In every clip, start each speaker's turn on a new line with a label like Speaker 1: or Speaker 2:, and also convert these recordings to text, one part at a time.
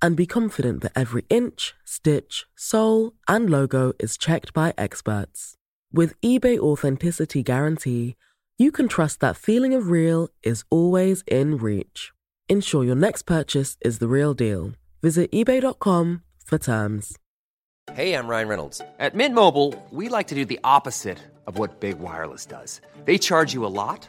Speaker 1: and be confident that every inch, stitch, sole, and logo is checked by experts. With eBay Authenticity Guarantee, you can trust that feeling of real is always in reach. Ensure your next purchase is the real deal. Visit eBay.com for terms.
Speaker 2: Hey, I'm Ryan Reynolds.
Speaker 3: At Mint Mobile, we like to do the opposite of what Big Wireless does. They charge you a lot,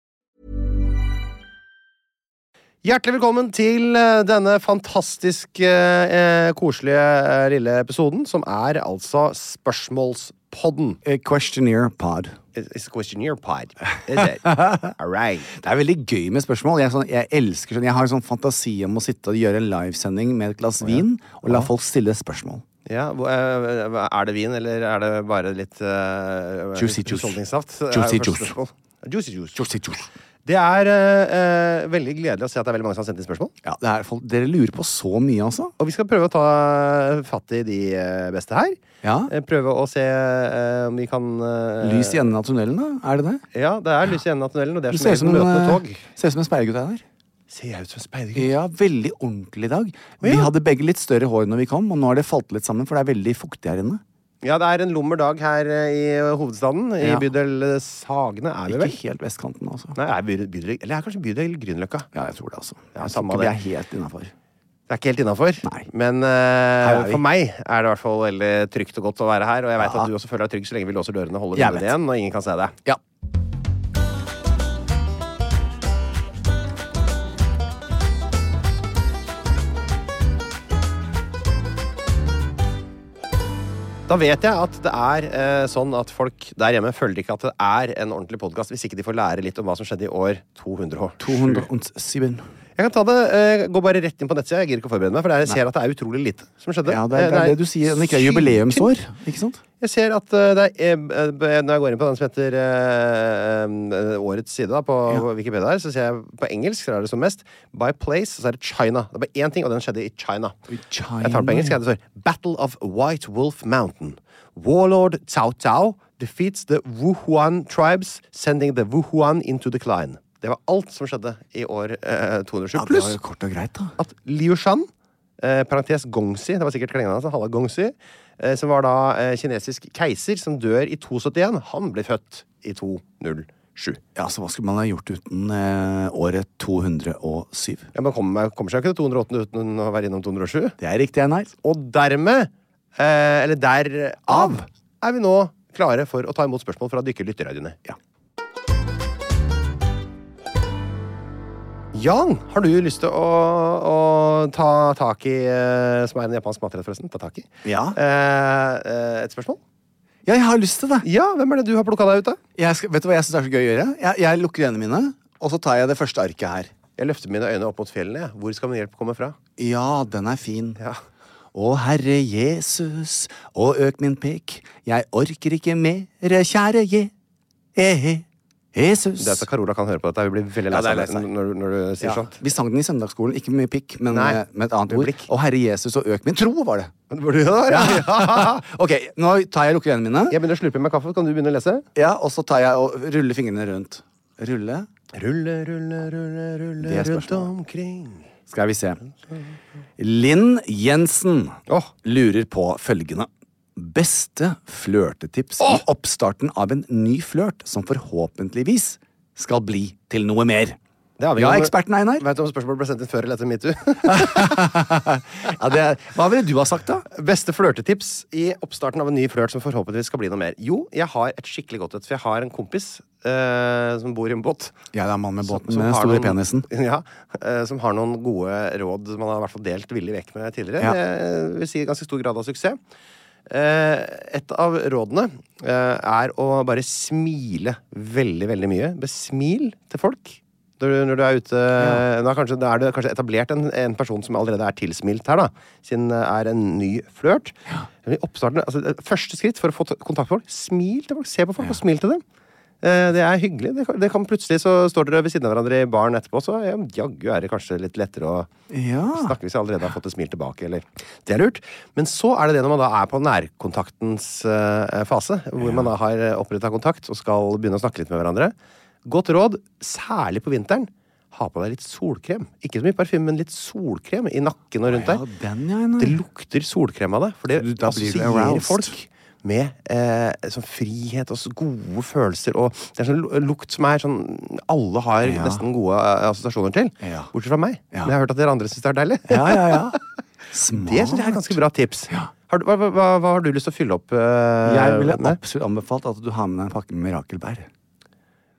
Speaker 4: Hjertelig velkommen til eh, denne fantastisk eh, eh, koselige eh, lille episoden, som er altså Spørsmålspodden.
Speaker 5: A Eh, questionnaire pod.
Speaker 4: It's a questionnaire pod, is it? All right.
Speaker 5: Det er veldig gøy med spørsmål. Jeg, er sånn, jeg elsker sånn, jeg har en sånn fantasi om å sitte og gjøre en livesending med et glass vin og la folk stille spørsmål.
Speaker 4: Ja, hva- eh, er det vin, eller er det bare litt eh,
Speaker 5: Juicy juice.
Speaker 4: husholdningssaft? Det er
Speaker 5: Juicy
Speaker 4: første
Speaker 5: juice.
Speaker 4: spørsmål. Juicy juice.
Speaker 5: Ja,
Speaker 4: Det er eh, eh, veldig gledelig å se at det er veldig mange som har sendt inn spørsmål.
Speaker 5: det er, folk, dere lurer på så mye, altså.
Speaker 4: Og vi skal prøve å ta fatt i de eh, beste her.
Speaker 5: Ja.
Speaker 4: Eh, Prøve å se eh, om vi kan eh,
Speaker 5: Lys i enden av tunnelen, da? Er det det?
Speaker 4: Ja, det er lys i enden av tunnelen, og det
Speaker 5: Du
Speaker 4: er som
Speaker 5: ser ut
Speaker 4: regel
Speaker 5: som en,
Speaker 4: møtende tog.
Speaker 5: eh, ser ut som en speilgutt jeg er der.
Speaker 4: Ser jeg ut som en speidergutt?
Speaker 5: Ja, veldig ordentlig i dag. Vi
Speaker 4: ja.
Speaker 5: hadde begge litt større hår når vi kom, og nå har det falt litt sammen, for det er veldig fuktig her inne.
Speaker 4: Ja, det er en lummer dag her eh, i hovedstaden. I
Speaker 5: Ja.
Speaker 4: bydel eh, Sagene er vi
Speaker 5: Ikke
Speaker 4: vel?
Speaker 5: helt vestkanten, altså.
Speaker 4: Nei, er bydel, bydel, eller er kanskje bydel Grünerløkka.
Speaker 5: Ja, jeg tror det, altså.
Speaker 4: Ja,
Speaker 5: Jeg tror
Speaker 4: samme
Speaker 5: ikke
Speaker 4: det.
Speaker 5: vi er helt innafor.
Speaker 4: Det er ikke helt innafor,
Speaker 5: Nei.
Speaker 4: men eh,
Speaker 5: er vi.
Speaker 4: for meg er det i hvert fall veldig trygt og godt å være her. Og jeg veit
Speaker 5: Ja.
Speaker 4: at du også føler deg trygg så lenge vi låser dørene og holder
Speaker 5: Jeg
Speaker 4: vinduet
Speaker 5: vet.
Speaker 4: igjen, og ingen kan se deg.
Speaker 5: Ja.
Speaker 4: Da vet jeg at det er eh, sånn at folk der hjemme føler ikke at det er en ordentlig podkast hvis ikke de får lære litt om hva som skjedde i år 207.
Speaker 5: 207.
Speaker 4: Jeg kan ta det, eh, gå bare rett inn på nettsida. Jeg gir ikke å forberede meg, for der jeg ser at det er utrolig lite som skjedde.
Speaker 5: Ja, det er, det
Speaker 4: Eh,
Speaker 5: er det du sier når det ikke er
Speaker 4: sykt-
Speaker 5: jubileumsår. Ikke sant?
Speaker 4: Jeg ser at eh, det er, eh, b- når jeg går inn på den som heter eh, eh, Årets side da, på Wikipedia, her, så ser jeg på engelsk så er det som mest By place, så er det China. Det er bare én ting, og den skjedde i China.
Speaker 5: I China,
Speaker 4: Jeg tar det på engelsk.
Speaker 5: ja.
Speaker 4: jeg. Det står Battle of White Wolf Mountain. Warlord Cao Cao defeats the Wuhuan tribes, sending the Wuhuan into decline. Det var alt som skjedde i år eh, 207.
Speaker 5: Ja, det var
Speaker 4: Pluss
Speaker 5: jo kort og greit, da.
Speaker 4: at Liu Shan, eh, parentes Gongsi, det var sikkert klingende hans, Halla Gongsi, eh, som var da eh, kinesisk keiser som dør i 271, han ble født i 207.
Speaker 5: Ja, så hva skulle man ha gjort uten eh, året 207?
Speaker 4: Ja, man kommer, man kommer seg jo ikke til 208 uten å være innom 207.
Speaker 5: Det er riktig, nei.
Speaker 4: Og dermed, eh, eller derav, er vi nå klare for å ta imot spørsmål fra dykke lytterøydene. Ja. Jan, har du lyst til å, å ta tak i eh, Som er en japansk matrett, forresten. Ta tak i.
Speaker 5: Ja.
Speaker 4: Eh, eh, et spørsmål?
Speaker 5: Ja, jeg har lyst til det.
Speaker 4: Ja, hvem er det du har plukka deg ut, da?
Speaker 5: Jeg skal, vet du hva jeg syns er så gøy å gjøre? Jeg, jeg lukker øynene mine, og så tar jeg det første arket her.
Speaker 4: Jeg løfter mine øyne opp mot fjellene. jeg. Hvor skal min hjelp komme fra?
Speaker 5: Ja, den er fin.
Speaker 4: Ja.
Speaker 5: Å Herre Jesus, og øk min pek, jeg orker ikke mere, kjære je... Ehe, Jesus.
Speaker 4: Det er så Carola kan høre på dette. Hun blir veldig lei
Speaker 5: Ja, det er lei
Speaker 4: seg
Speaker 5: seg.
Speaker 4: når, når du sier
Speaker 5: Ja,
Speaker 4: sånt.
Speaker 5: Vi sang den i søndagsskolen, ikke med pikk, men
Speaker 4: Nei,
Speaker 5: med, med et annet
Speaker 4: med
Speaker 5: ord.
Speaker 4: blikk.
Speaker 5: Å Herre Jesus, og øk min tro, var det.
Speaker 4: Var det det der, ja?
Speaker 5: ok, nå tar jeg lukker øynene mine.
Speaker 4: Jeg begynner å slurpe i meg kaffe. Kan du begynne å lese?
Speaker 5: Ja, og så tar jeg og ruller fingrene rundt. Rulle,
Speaker 4: Rulle, rulle, rulle,
Speaker 5: Det
Speaker 4: rulle
Speaker 5: er
Speaker 4: rundt
Speaker 5: spørsmålet.
Speaker 4: omkring.
Speaker 5: Skal vi se. Linn Jensen
Speaker 4: Åh.
Speaker 5: lurer på følgende. Beste flørtetips i oppstarten av en ny flørt som forhåpentligvis skal bli til noe mer.
Speaker 4: Det avhenger
Speaker 5: Ja,
Speaker 4: om-
Speaker 5: eksperten Einar.
Speaker 4: Vet du om spørsmålet ble sendt inn før eller etter metoo?
Speaker 5: Ja, det, hva ville du ha sagt, da?
Speaker 4: Beste flørtetips i oppstarten av en ny flørt som forhåpentligvis skal bli noe mer. Jo, jeg har et skikkelig godt et, for jeg har en kompis eh, som bor i en båt.
Speaker 5: Ja, det er mann med båten
Speaker 4: Som- som
Speaker 5: med den
Speaker 4: har
Speaker 5: store
Speaker 4: noen-
Speaker 5: penisen.
Speaker 4: Ja, eh, som har noen gode råd som han har i hvert fall delt villig vekk med tidligere.
Speaker 5: Ja.
Speaker 4: Det vil si ganske stor grad av suksess. Eh, et av rådene eh, er å bare smile veldig, veldig mye. Besmil til folk. Når du, når du er ute Nå er, kanskje, da er det kanskje etablert en, en person som allerede er tilsmilt her, da. Siden det er en ny flørt. Men i oppstarten, altså, det Første skritt for å få t- kontakt med folk. Smil til folk. Se på folk og smil til dem. Eh, Det er hyggelig. Det kan, det kan plutselig så står dere ved siden av hverandre i baren etterpå, så ja, jaggu er det kanskje litt lettere å
Speaker 5: Ja.
Speaker 4: snakke hvis jeg allerede har fått et smil tilbake, eller Det er lurt. Men så er det det når man da er på nærkontaktens eh, fase, hvor man da har oppretta kontakt og skal begynne å snakke litt med hverandre. Godt råd, særlig på vinteren, ha på deg litt solkrem. Ikke så mye parfyme, men litt solkrem i nakken og rundt
Speaker 5: Ja,
Speaker 4: der.
Speaker 5: den, ja, Einar.
Speaker 4: Det lukter solkrem av det, for det
Speaker 5: Du- da blir du
Speaker 4: assosierer
Speaker 5: aroused.
Speaker 4: folk med eh, sånn frihet og så gode følelser. Og det er sånn lu- lukt som er sånn alle har
Speaker 5: Ja.
Speaker 4: nesten gode eh, assosiasjoner til.
Speaker 5: Ja.
Speaker 4: Bortsett fra meg. Men
Speaker 5: Ja.
Speaker 4: jeg har hørt at dere andre syns det er deilig.
Speaker 5: Ja, ja, ja. Smart.
Speaker 4: Det synes jeg er et ganske bra tips. Har du, hva, hva, hva har du lyst til å fylle opp? eh,
Speaker 5: Jeg ville
Speaker 4: med?
Speaker 5: absolutt anbefalt at du har med deg en pakke med mirakelbær.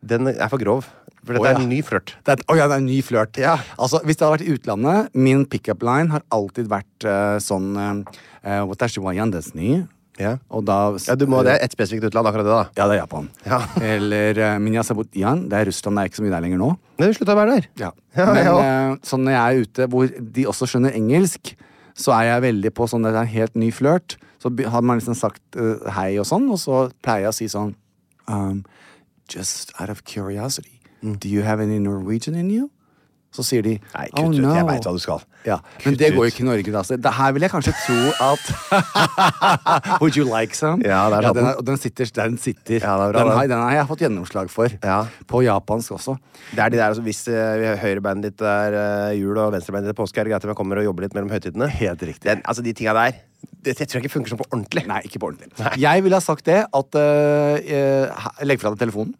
Speaker 4: Den er for grov. For dette
Speaker 5: Å, ja.
Speaker 4: er en ny flørt.
Speaker 5: Det er, et- å ja, det er en ny flørt. Altså, hvis det hadde vært i utlandet Min pickup line har alltid vært eh, sånn uh, What does she want in Disney?
Speaker 4: Ja.
Speaker 5: Og da
Speaker 4: Ja, du må, det er ett spesifikt utland, akkurat det, da.
Speaker 5: Ja, det er Japan.
Speaker 4: Ja.
Speaker 5: Eller uh, Minya Sabutian. Det er Russland, det er ikke så mye der lenger nå.
Speaker 4: Nei, vi slutta å være der. Ja,
Speaker 5: Men
Speaker 4: jeg også.
Speaker 5: eh, sånn når jeg er ute hvor de også skjønner engelsk, så er jeg veldig på sånn det er en helt ny flørt. Så be- har man liksom sagt eh, hei og sånn, og så pleier jeg å si sånn um, Just out of curiosity, do you have any Norwegian in you? Så sier de
Speaker 4: Mm. Nei, kutt
Speaker 5: oh,
Speaker 4: ut.
Speaker 5: no.
Speaker 4: Jeg vet hva du skal.
Speaker 5: Ja, men
Speaker 4: Kutt
Speaker 5: det går
Speaker 4: ut.
Speaker 5: jo ikke i Norge. Da. Så det her vil jeg kanskje tro at Would you like some?
Speaker 4: Ja, der satt
Speaker 5: den,
Speaker 4: den.
Speaker 5: er, og den sitter. der Den, sitter.
Speaker 4: Ja, det er bra,
Speaker 5: den, har,
Speaker 4: det.
Speaker 5: den har jeg fått gjennomslag for.
Speaker 4: Ja.
Speaker 5: På japansk også.
Speaker 4: Det er de der, altså, Hvis uh, høyrebeinet ditt er eh, jul og venstrebeinet ditt er påske, er det greit om jeg kommer og jobber litt mellom høytidene?
Speaker 5: Helt riktig.
Speaker 4: Den, altså, De tinga der det, det tror jeg ikke funker sånn på ordentlig.
Speaker 5: Nei, ikke på ordentlig. Jeg ville ha sagt det at eh, eh, Legg fra deg telefonen.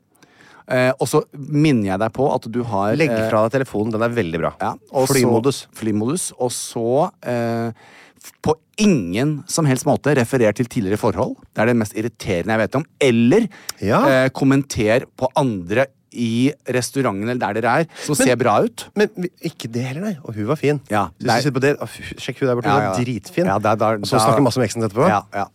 Speaker 5: Eh, og så minner jeg deg på at du har
Speaker 4: Legg
Speaker 5: eh,
Speaker 4: fra deg telefonen. Den er veldig bra.
Speaker 5: ja, og så-
Speaker 4: Flymodus.
Speaker 5: flymodus. Og så eh, f- på ingen som helst måte referer til tidligere forhold. Det er det mest irriterende jeg vet om. Eller
Speaker 4: Ja.
Speaker 5: eh, kommenter på andre i restauranten eller der dere er, som ser bra ut.
Speaker 4: Men vi- ikke det heller, nei. Og hun var fin.
Speaker 5: Ja,
Speaker 4: Så hvis
Speaker 5: nei.
Speaker 4: du sitter på det, å, fy, sjekk hun der borte.
Speaker 5: Ja,
Speaker 4: Hun
Speaker 5: ja.
Speaker 4: var dritfin.
Speaker 5: Ja, det er da-
Speaker 4: og
Speaker 5: da-
Speaker 4: så snakke masse om eksen etterpå.
Speaker 5: Ja, ja.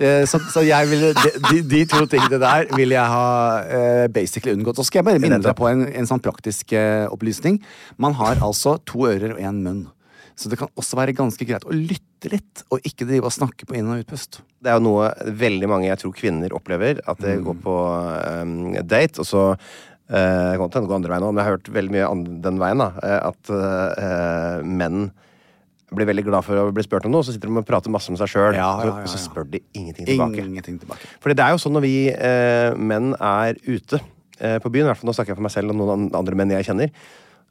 Speaker 5: Eh, Så, så jeg ville, de, de, de to tingene der ville jeg ha eh, basically unngått. Så skal jeg bare minne deg på en, en sånn praktisk eh, opplysning. Man har altså to ører og én munn. Så det kan også være ganske greit å lytte litt, og ikke drive og snakke på inn- og utpust.
Speaker 4: Det er jo noe veldig mange jeg tror kvinner opplever. At det
Speaker 5: Mm.
Speaker 4: går på eh, date, og så eh, Det kan godt hende det går andre veien òg, men jeg har hørt veldig mye an- den veien. da eh, At eh, menn blir veldig glad for å bli spurt om noe, og så sitter de og prater masse om seg sjøl,
Speaker 5: Ja, ja, ja,
Speaker 4: og så
Speaker 5: ja.
Speaker 4: spør de ingenting tilbake.
Speaker 5: Ingenting tilbake.
Speaker 4: Fordi det er jo sånn når vi eh, menn er ute eh, på byen, i hvert fall nå snakker jeg for meg selv og noen an- andre menn jeg kjenner,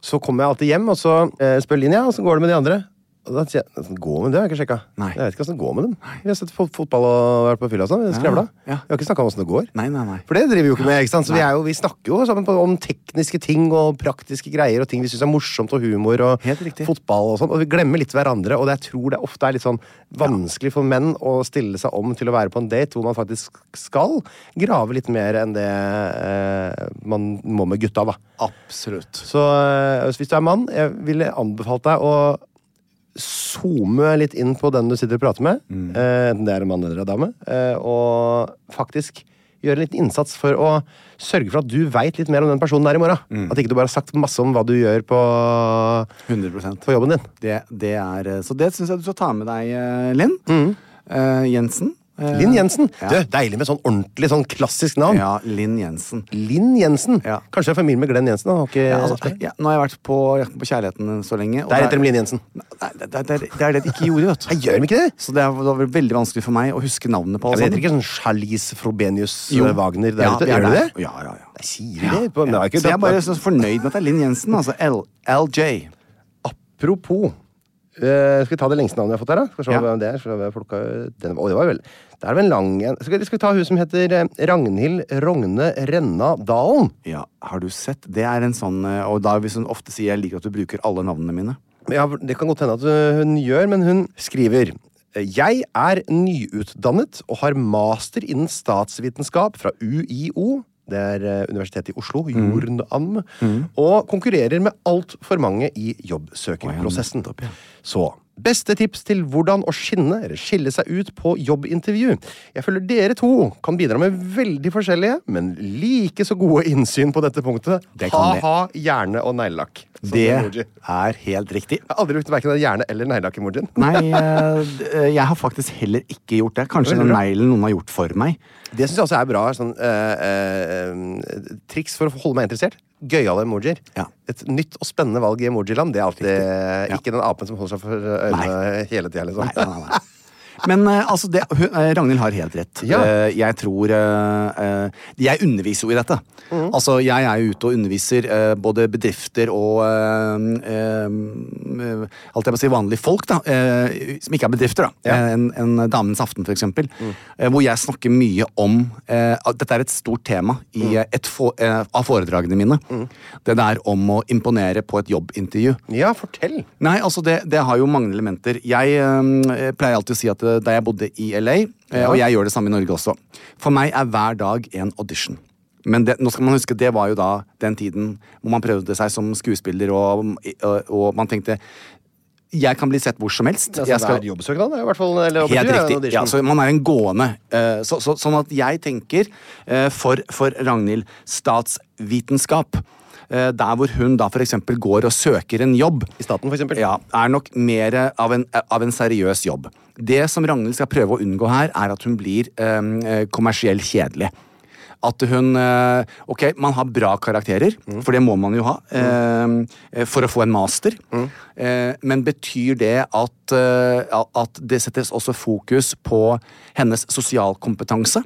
Speaker 4: så kommer jeg alltid hjem, og så eh, spør Linja, åssen går det med de andre? Og da sier jeg «Åssen går det med det, har jeg ikke sjekka.
Speaker 5: Nei.
Speaker 4: Jeg vet ikke åssen det går med dem. Vi har sett fot- fotball og vært på fylla og sånn, skrevla.
Speaker 5: Ja, ja.
Speaker 4: Vi har ikke snakka om åssen det går.
Speaker 5: Nei, nei, nei.
Speaker 4: For det driver vi jo ikke med. ikke sant? Så vi, er jo, vi snakker jo sammen på, om tekniske ting og praktiske greier og ting vi syns er morsomt, og humor og
Speaker 5: Helt riktig.
Speaker 4: fotball og sånn. Og vi glemmer litt hverandre, og det jeg tror det ofte er litt sånn vanskelig for menn å stille seg om til å være på en date hvor man faktisk skal grave litt mer enn det eh, man må med gutta, da.
Speaker 5: Absolutt.
Speaker 4: Så eh, hvis du er mann, jeg ville anbefalt deg å zoome litt inn på den du sitter og prater med,
Speaker 5: Mm.
Speaker 4: eh, enten det er en mann eller en dame, eh, og faktisk gjøre en liten innsats for å sørge for at du veit litt mer om den personen der i morgen.
Speaker 5: Mm.
Speaker 4: At ikke du bare har sagt masse om hva du gjør på,
Speaker 5: 100
Speaker 4: på jobben din. Mm.
Speaker 5: Det, det er, eh, så det syns jeg du skal ta med deg, eh, Linn. Eh, Jensen. Eh,
Speaker 4: Linn Jensen.
Speaker 5: Ja.
Speaker 4: Du, deilig med sånn ordentlig sånn klassisk navn.
Speaker 5: Ja, Linn Jensen.
Speaker 4: Linn Jensen.
Speaker 5: Ja.
Speaker 4: Kanskje jeg er familie med Glenn Jensen? da, Har ikke...
Speaker 5: Ja, altså, ja, nå har jeg vært på Jakten på kjærligheten så lenge. og
Speaker 4: Der heter de Linn Jensen.
Speaker 5: Nei, det, det, det, det er det de ikke gjorde, vet
Speaker 4: Nei, gjør de ikke det?
Speaker 5: Så det er- det var veldig vanskelig for meg å huske navnene på
Speaker 4: Ja,
Speaker 5: alle
Speaker 4: men det heter
Speaker 5: sammen.
Speaker 4: ikke sånn Charlize Frobenius
Speaker 5: Jo.
Speaker 4: eh, Wagner der
Speaker 5: Ja,
Speaker 4: ute?
Speaker 5: vi er
Speaker 4: Gjør du det?
Speaker 5: der. Ja, ja, ja.
Speaker 4: Nei, sier de det? På, men det er ikke,
Speaker 5: Så jeg er bare så fornøyd med at det er Linn Jensen. Altså L, LJ.
Speaker 4: Apropos eh, Skal vi ta det lengste navnet jeg har fått her, da? Skal vi se
Speaker 5: Ja.
Speaker 4: hvem det er. Skal vi plukke den. Å, det var vel Det er vel en lang en. Skal, vi- skal vi ta hun som heter eh, Ragnhild Rogne Renna Dalen?
Speaker 5: Ja, har du sett? Det er en sånn eh, Og da hvis hun ofte sier jeg liker at du bruker alle navnene mine.
Speaker 4: Ja, det kan godt hende at eh, hun gjør, men hun skriver jeg er nyutdannet og har master innen statsvitenskap fra UiO, det er eh, Universitetet i Oslo,
Speaker 5: Mm.
Speaker 4: Jornam, og konkurrerer med altfor mange i jobbsøkerprosessen. Så beste tips til hvordan å skinne eller skille seg ut på jobbintervju. Jeg føler dere to kan bidra med veldig forskjellige, men like så gode innsyn på dette punktet.
Speaker 5: Det kan vi.
Speaker 4: Ha-ha, hjerne og neglelakk. Sånn som
Speaker 5: Det
Speaker 4: emoji.
Speaker 5: er helt riktig.
Speaker 4: Jeg har aldri brukt verken den hjerne- eller neglelakk-emojien.
Speaker 5: Nei, eh, d- eh, jeg har faktisk heller ikke gjort det. Kanskje den neglen noen har gjort for meg.
Speaker 4: Det syns jeg også er bra. Sånn, eh, eh, triks for å holde meg interessert. Gøyale emojier.
Speaker 5: Ja.
Speaker 4: Et nytt og spennende valg i emojiland. Det er alltid eh,
Speaker 5: Ja.
Speaker 4: ikke den apen som holder seg for øynene hele tida. Liksom.
Speaker 5: Nei, nei, nei. Men eh, altså, det, hun, eh, Ragnhild har helt rett.
Speaker 4: Ja.
Speaker 5: Eh, jeg tror eh, eh, Jeg underviser jo i dette. Altså, jeg er jo ute og underviser eh, både bedrifter og eh, eh, eh, Alt jeg må si vanlige folk, da. eh, som ikke er bedrifter, da. Eh, En, en Damenes aften, for eksempel. eh, hvor jeg snakker mye om eh, at Dette er et stort tema i eh, et få- eh, av foredragene mine. Det der om å imponere på et jobbintervju.
Speaker 4: Ja, fortell!
Speaker 5: Nei, altså det, det har jo mange elementer. Jeg øhm, pleier alltid å si at øh, da jeg bodde i LA, øh, og jeg gjør det samme i Norge også For meg er hver dag en audition. Men det, nå skal man huske, det var jo da den tiden hvor man prøvde seg som skuespiller, og, og, og man tenkte Jeg kan bli sett hvor som helst.
Speaker 4: Altså,
Speaker 5: Jeg skal-
Speaker 4: Hver jobbsøknad er jo i hvert fall eller,
Speaker 5: Helt
Speaker 4: jobbintervju er en
Speaker 5: riktig. Ja,
Speaker 4: audition.
Speaker 5: så man er en gående. eh, så, så, sånn at jeg tenker, eh, for, for Ragnhild, statsvitenskap. eh, der hvor hun da f.eks. går og søker en jobb.
Speaker 4: I staten, for eksempel.
Speaker 5: Ja, er nok mer av en, av en seriøs jobb. Det som Ragnhild skal prøve å unngå her, er at hun blir eh, kommersiell kjedelig. At hun eh, Ok, man har bra karakterer,
Speaker 4: Mm.
Speaker 5: for det må man jo ha eh, for å få en master.
Speaker 4: Mm.
Speaker 5: Eh, men betyr det at, eh, at det settes også fokus på hennes sosialkompetanse?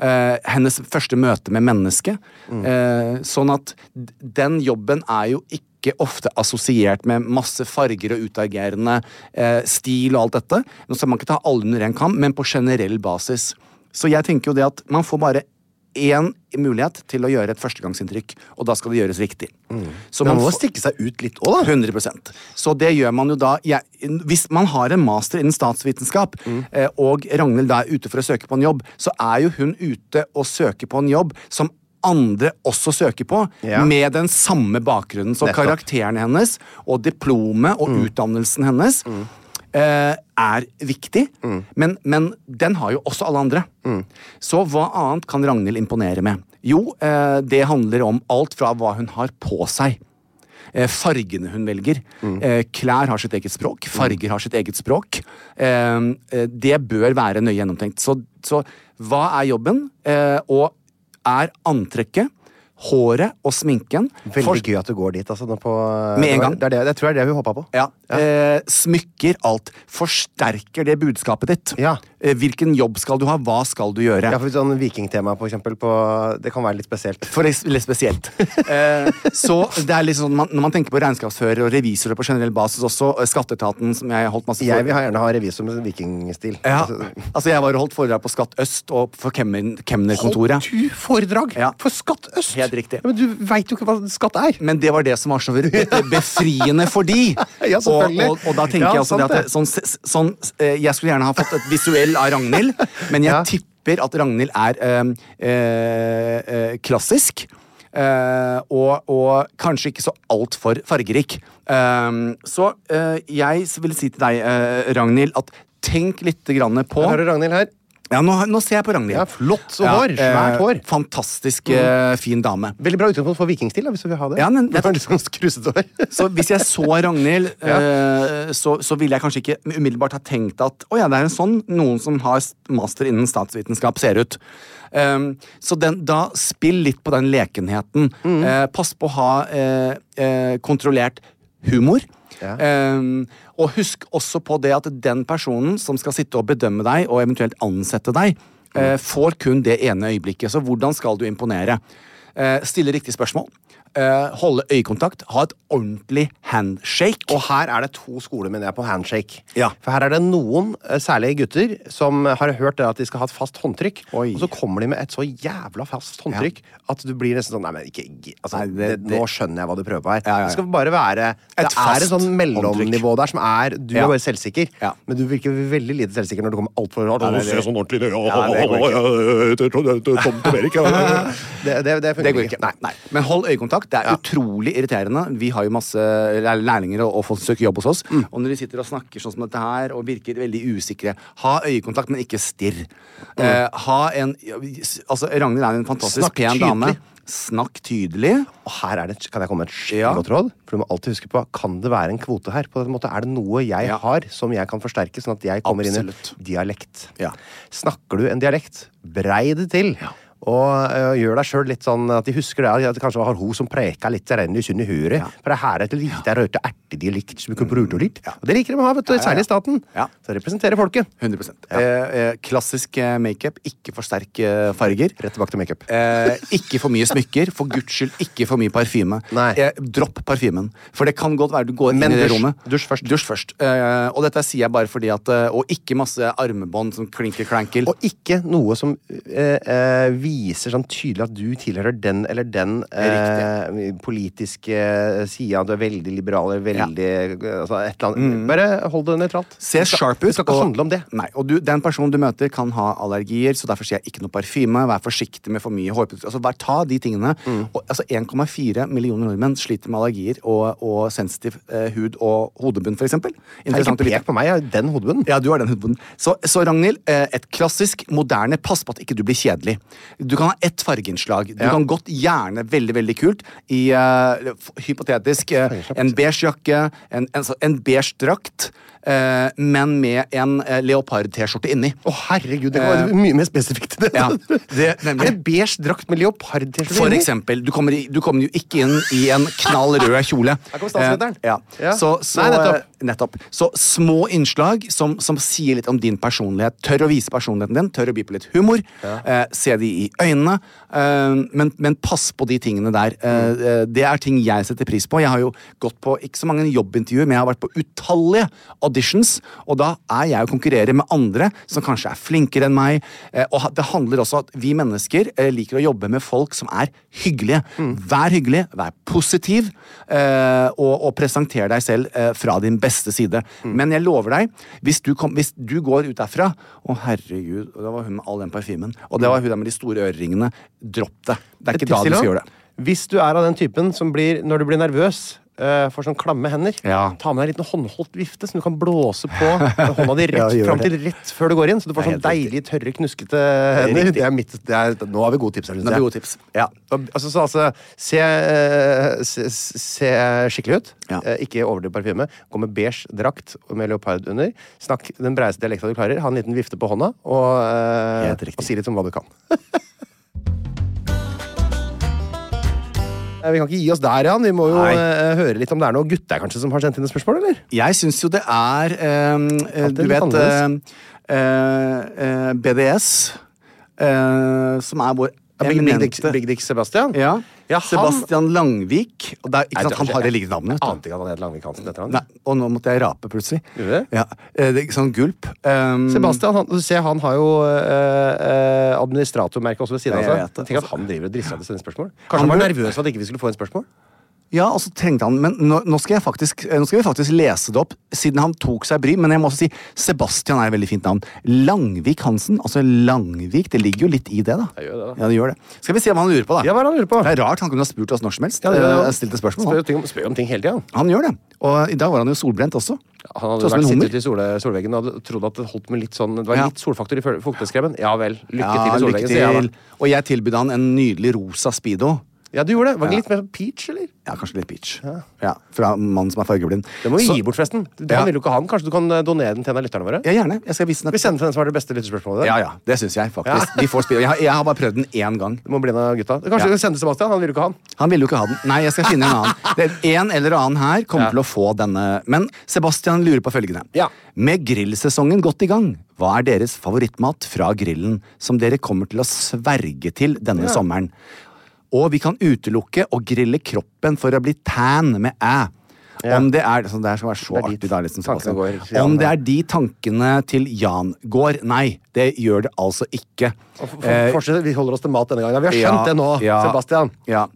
Speaker 5: Eh, hennes første møte med mennesket. Eh, sånn at d- den jobben er jo ikke ofte assosiert med masse farger og utagerende eh, stil og alt dette. Nå skal man ikke ta alle under én kam, men på generell basis. Så jeg tenker jo det at man får bare én mulighet til å gjøre et førstegangsinntrykk, og da skal det gjøres riktig. Så
Speaker 4: Mm. Man må
Speaker 5: får-
Speaker 4: stikke seg ut litt òg, da.
Speaker 5: 100 Så det gjør man jo da jeg, Hvis man har en master innen statsvitenskap,
Speaker 4: Mm.
Speaker 5: eh, og Ragnhild da er ute for å søke på en jobb, så er jo hun ute og søker på en jobb som andre også søker på,
Speaker 4: Ja.
Speaker 5: med den samme bakgrunnen. Så
Speaker 4: Nettopp. Mm.
Speaker 5: karakteren hennes og diplomet og utdannelsen hennes eh, er viktig, men, men den har jo også alle andre. Så hva annet kan Ragnhild imponere med? Jo, eh, det handler om alt fra hva hun har på seg. Eh, fargene hun velger. Eh, klær har sitt eget språk. Farger har sitt eget språk. Eh, eh, det bør være nøye gjennomtenkt. Så, så hva er jobben? Eh, og er antrekket, håret og sminken
Speaker 4: Veldig
Speaker 5: for-
Speaker 4: gøy at du går dit. Altså, nå på,
Speaker 5: Med en
Speaker 4: det var-
Speaker 5: gang.
Speaker 4: Det er det, jeg tror det er det vi håpa på.
Speaker 5: Ja. Eh, smykker alt. Forsterker det budskapet ditt.
Speaker 4: Ja.
Speaker 5: Eh, hvilken jobb skal du ha? Hva skal du gjøre?
Speaker 4: Ja, for sånn Vikingtema, for eksempel, på, det kan være litt spesielt.
Speaker 5: For eks- litt spesielt. Eh, så det er litt sånn, man, Når man tenker på regnskapsfører og revisorer på generell basis også, eh, Skatteetaten, som jeg holdt masse
Speaker 4: Jeg vil ha- gjerne ha revisor med sånn vikingstil.
Speaker 5: Ja.
Speaker 4: Altså,
Speaker 5: Altså, jeg var og holdt foredrag på Skatt Øst og for Kemner- Kemner-kontoret.
Speaker 4: Holdt du foredrag
Speaker 5: Ja.
Speaker 4: for Skatt Øst?
Speaker 5: Helt riktig.
Speaker 4: Ja, men du veit jo ikke hva skatt er!
Speaker 5: Men det var det som var så be- befriende for de.
Speaker 4: Ja, selvfølgelig.
Speaker 5: Og, og, og da tenker
Speaker 4: Ja,
Speaker 5: jeg altså det
Speaker 4: sant
Speaker 5: at det, sånn, s- sånn, eh, Jeg skulle gjerne ha fått et visuell av Ragnhild, men jeg
Speaker 4: Ja.
Speaker 5: tipper at Ragnhild er eh, eh, eh, klassisk. eh, og, og kanskje ikke så altfor fargerik. Eh, så eh, jeg vil si til deg, eh, Ragnhild, at tenk litt grann på
Speaker 4: Her har du Ragnhild her.
Speaker 5: Ja, nå, nå ser jeg på Ragnhild.
Speaker 4: Ja, flott og hår, svært
Speaker 5: eh,
Speaker 4: hår. Mm.
Speaker 5: Fantastisk eh, fin dame.
Speaker 4: Veldig bra utgangspunkt for vikingstil, da, hvis du vil ha det.
Speaker 5: Ja, men-
Speaker 4: det er litt sånn skruset hår.
Speaker 5: Så hvis jeg så Ragnhild, eh, så, så ville jeg kanskje ikke umiddelbart ha tenkt at å ja, det er en sånn noen som har master innen statsvitenskap, ser ut. Ehm, så den, da spill litt på den lekenheten. Eh, pass på å ha eh, eh, kontrollert humor.
Speaker 4: Ja.
Speaker 5: Ehm, og husk også på det at den personen som skal sitte og bedømme deg, og eventuelt ansette deg, eh, får kun det ene øyeblikket. Så hvordan skal du imponere? Eh, stille riktige spørsmål. eh, holde øyekontakt. Ha et ordentlig handshake.
Speaker 4: Og her er det to skoler, mener jeg, på handshake.
Speaker 5: Ja.
Speaker 4: For her er det noen, eh, særlig gutter, som har hørt det at de skal ha et fast håndtrykk,
Speaker 5: Oi.
Speaker 4: og så kommer de med et så jævla fast håndtrykk at du blir nesten sånn Nei, men ikke gi- altså,
Speaker 5: Nei,
Speaker 4: det,
Speaker 5: det- det-
Speaker 4: Nå skjønner jeg hva du prøver på her.
Speaker 5: Ja, ja, ja.
Speaker 4: Det skal bare være Det
Speaker 5: fast
Speaker 4: er et sånn mellomnivå der som er Du
Speaker 5: Ja.
Speaker 4: er bare selvsikker,
Speaker 5: Ja.
Speaker 4: men du virker veldig lite selvsikker når du kommer altfor hardt.
Speaker 5: Nei, nei,
Speaker 4: Å, se
Speaker 5: det-
Speaker 4: sånn ordentlig det, ja,
Speaker 5: Ja, det går ikke.
Speaker 4: ja, ja, ja, Tom- Tom- Tom Erik, ja. Det det- det
Speaker 5: Det
Speaker 4: funker
Speaker 5: går ikke. Nei. Men hold øyekontakt. Det er utrolig irriterende. Vi har jo masse lær- lærlinger og, og folk søker jobb hos oss. Og når de sitter og snakker sånn som dette her og virker veldig usikre Ha øyekontakt, men ikke stirr. Eh, ha en Altså, Ragnhild er en fantastisk
Speaker 4: Snakk
Speaker 5: pen dame.
Speaker 4: tydelig.
Speaker 5: Snakk tydelig.
Speaker 4: Og her er det, kan jeg komme med et skikkelig
Speaker 5: Ja.
Speaker 4: godt råd? For du må alltid huske på, Kan det være en kvote her? På den måten, Er det noe jeg
Speaker 5: Ja.
Speaker 4: har som jeg kan forsterke, sånn at jeg kommer
Speaker 5: Absolutt.
Speaker 4: inn i dialekt?
Speaker 5: Ja.
Speaker 4: Snakker du en dialekt, brei det til. Og ø, gjør deg sjøl litt sånn at de husker det. At det kanskje var hun som preka litt renn i sunne huret. For det her er et lite røyte ertedialekt som vi kan bruke litt. Og det liker de å ha, vet du. Særlig i staten.
Speaker 5: Mm. Ja.
Speaker 4: Så representerer folket.
Speaker 5: 100 eh, eh, Klassisk eh, makeup. Ikke for sterke eh, farger.
Speaker 4: Rett tilbake til makeup.
Speaker 5: Eh, ikke for mye smykker. For guds skyld, ikke for mye parfyme.
Speaker 4: Nei.
Speaker 5: Eh, dropp parfymen. For det kan godt være du går
Speaker 4: Men
Speaker 5: inn i det
Speaker 4: dusj.
Speaker 5: rommet.
Speaker 4: Dusj først.
Speaker 5: Eh, og dette sier jeg bare fordi at eh, Og ikke masse armebånd som klinker klankel.
Speaker 4: Og ikke noe som eh, eh, viser sånn tydelig at du tilhører den eller den eh, politiske sida. Du er veldig liberal eller veldig altså, et eller
Speaker 5: Mm.
Speaker 4: annet. Bare hold det nøytralt.
Speaker 5: Se
Speaker 4: Det skal-
Speaker 5: sharp ut.
Speaker 4: Det skal ikke
Speaker 5: og-
Speaker 4: handle om det.
Speaker 5: Nei, og du, Den personen du møter, kan ha allergier, så derfor sier jeg ikke noe parfyme. Vær forsiktig med for mye hårprodukter. Altså, vær, ta de tingene.
Speaker 4: Mm.
Speaker 5: Og, altså, 1,4 millioner nordmenn sliter med allergier og, og sensitiv eh, hud og hodebunn, f.eks.
Speaker 4: Det er ikke pek på meg, jeg har den hodebunnen.
Speaker 5: Ja, du har den hudbunnen. Så, så Ragnhild, eh, et klassisk moderne pass på at ikke du blir kjedelig. Du kan ha ett fargeinnslag. Du
Speaker 4: Ja.
Speaker 5: kan godt gjerne veldig veldig kult i eh, f- Hypotetisk eh, en beige jakke, en, en, så- en beige drakt, eh, men med en eh, leopard-T-skjorte inni.
Speaker 4: Å, herregud, det var mye mer spesifikt enn det.
Speaker 5: Eh. Ja, det- nemlig.
Speaker 4: er det beige drakt med leopard-T-skjorte?
Speaker 5: For
Speaker 4: inni?
Speaker 5: eksempel. Du kommer, i, du kommer jo ikke inn i en knall rød kjole.
Speaker 4: Her kommer statsministeren.
Speaker 5: Eh, ja.
Speaker 4: Ja.
Speaker 5: Så, så,
Speaker 4: Nei, nettopp.
Speaker 5: nettopp. nettopp. Så små innslag som, som sier litt om din personlighet. Tør å vise personligheten din, tør å by på litt humor. Eh, se de i øynene. Eh, men, men pass på de tingene der. Eh, eh, det er ting jeg setter pris på. Jeg har jo gått på ikke så mange jobbintervjuer, men jeg har vært på utallige auditions, og da er jeg å konkurrere med andre som kanskje er flinkere enn meg. Eh, og ha- det handler også at vi mennesker eh, liker å jobbe med folk som er hyggelige.
Speaker 4: Mm.
Speaker 5: Vær hyggelig, vær positiv, eh, og, og presenter deg selv eh, fra din beste side.
Speaker 4: Mm.
Speaker 5: Men jeg lover deg, hvis du, kom, hvis du går ut derfra Å, herregud, og det var hun med all den parfymen, og det var hun der med de store øreringene. Dropp det. Det
Speaker 4: Mm.
Speaker 5: er
Speaker 4: Et
Speaker 5: ikke da
Speaker 4: tips
Speaker 5: du
Speaker 4: til
Speaker 5: skal
Speaker 4: han.
Speaker 5: gjøre det.
Speaker 4: Hvis du er av den typen som blir, når du blir nervøs eh, får sånn klamme hender.
Speaker 5: Ja.
Speaker 4: Ta med deg en liten håndholdt vifte som du kan blåse på med hånda di
Speaker 5: Ja,
Speaker 4: rett
Speaker 5: gjør
Speaker 4: fram
Speaker 5: det.
Speaker 4: til rett før du går inn. Så du får
Speaker 5: Det er
Speaker 4: sånn
Speaker 5: helt
Speaker 4: deilig tørre, knuskete hender. Det er mitt, det er, nå har vi gode tips her. synes
Speaker 5: Nå har vi
Speaker 4: jeg.
Speaker 5: gode tips. Ja.
Speaker 4: Og- Altså, så, altså se, eh, se, se skikkelig ut.
Speaker 5: Ja.
Speaker 4: Eh, Ikke overdriv parfyme. Gå med beige drakt og med leopard under. Snakk den breieste dialekta du klarer. Ha en liten vifte på hånda, og, eh,
Speaker 5: Helt riktig.
Speaker 4: og si litt om hva du kan. Eh, Vi kan ikke gi oss der, Jan. Vi må jo
Speaker 5: Nei.
Speaker 4: eh, høre litt om det er noen gutter kanskje som har sendt inn et spørsmål, eller?
Speaker 5: Jeg syns jo det er ehm, eh,
Speaker 4: At det
Speaker 5: Du
Speaker 4: er litt
Speaker 5: vet eh, eh, eh, BDS, eh, som er vår
Speaker 4: Ja, Big, Big, Dick,
Speaker 5: eminente
Speaker 4: Big Dick Sebastian?
Speaker 5: ja.
Speaker 4: Ja, han-
Speaker 5: Sebastian Langvik. Og det er,
Speaker 4: Nei,
Speaker 5: ikke sant, han har det like
Speaker 4: Jeg
Speaker 5: navnet. vet du.
Speaker 4: ante ikke at han het Langvik Hansen. Etter han.
Speaker 5: Nei, og nå måtte jeg rape, plutselig.
Speaker 4: Gjorde du det?
Speaker 5: Ja, eh, det er ikke sånn gulp. Ehm,
Speaker 4: Sebastian han, du ser, han har jo eh, eh, administratormerket også ved siden
Speaker 5: Ja,
Speaker 4: av
Speaker 5: jeg vet
Speaker 4: seg.
Speaker 5: det.
Speaker 4: Tenk at han driver og drisser seg til sånne spørsmål. Kanskje
Speaker 5: Han
Speaker 4: han var
Speaker 5: burde-
Speaker 4: nervøs for at ikke vi skulle få en spørsmål?
Speaker 5: Ja, og så trengte han Men nå, nå, skal jeg faktisk, eh, nå skal vi faktisk lese det opp, siden han tok seg bry. Men jeg må også si Sebastian er et veldig fint navn. Langvik Hansen. Altså Langvik. Det ligger jo litt i det, da.
Speaker 4: Jeg gjør det, da.
Speaker 5: Ja, det gjør det. Skal vi se hva han lurer på, da.
Speaker 4: Ja, hva er det han lurer på?
Speaker 5: Det er rart. Han kunne ha spurt oss når som helst.
Speaker 4: Ja, det-
Speaker 5: eh, stilt et spørsmål.
Speaker 4: Spør,
Speaker 5: Han.
Speaker 4: jo ting om, spør om ting hele tida.
Speaker 5: han gjør det. Og i dag var han jo solbrent også.
Speaker 4: Han hadde
Speaker 5: Sånn som
Speaker 4: vært
Speaker 5: en hummer?
Speaker 4: sittet i sole, solveggen og hadde trodd at det holdt med litt sånn Det var
Speaker 5: Ja.
Speaker 4: litt solfaktor i fø- fukteskremmen. Ja vel. Lykke
Speaker 5: Ja,
Speaker 4: til i
Speaker 5: lykke
Speaker 4: solveggen, sier jeg
Speaker 5: til.
Speaker 4: da.
Speaker 5: Og jeg tilbød han en nydelig rosa speedo.
Speaker 4: Ja, du gjorde det. Var det
Speaker 5: Ja.
Speaker 4: litt mer peach, eller?
Speaker 5: Ja, kanskje litt peach. Ja, Fra mannen som er fargeblind.
Speaker 4: Det må vi
Speaker 5: Så-
Speaker 4: gi bort, forresten. Han
Speaker 5: Ja.
Speaker 4: vil jo ikke ha den. Kanskje du kan eh, donere den til en av lytterne våre?
Speaker 5: Ja, gjerne. Jeg skal vise den.
Speaker 4: Vi sender til den som har det beste lytterspørsmålet.
Speaker 5: Ja, ja, det syns jeg faktisk. De får speedo. Jeg, har- jeg har bare prøvd den én gang.
Speaker 4: Det må bli en av gutta. Kanskje
Speaker 5: Ja.
Speaker 4: vi sender Sebastian? Han vil jo ikke ha den.
Speaker 5: Han ville jo ikke ha den. Nei, jeg skal finne en annen. Det er en eller annen her kommer til å få denne. Men Sebastian lurer på følgende.
Speaker 4: Ja.
Speaker 5: Med grillsesongen godt i gang, hva er deres favorittmat fra grillen som dere kommer til å sverge til denne sommeren? Og vi kan utelukke å grille kroppen for å bli tan med æ. Om det er så Det her skal være så
Speaker 4: er dit
Speaker 5: artig, da. Liksom,
Speaker 4: tankene
Speaker 5: Sebastian.
Speaker 4: går, sier han
Speaker 5: Om det
Speaker 4: her.
Speaker 5: er de tankene til Jan går Nei, det gjør det altså ikke.
Speaker 4: For, for, fortsett, vi holder oss til mat denne gangen. Vi har skjønt det nå,
Speaker 5: ja,
Speaker 4: Sebastian.
Speaker 5: Ja.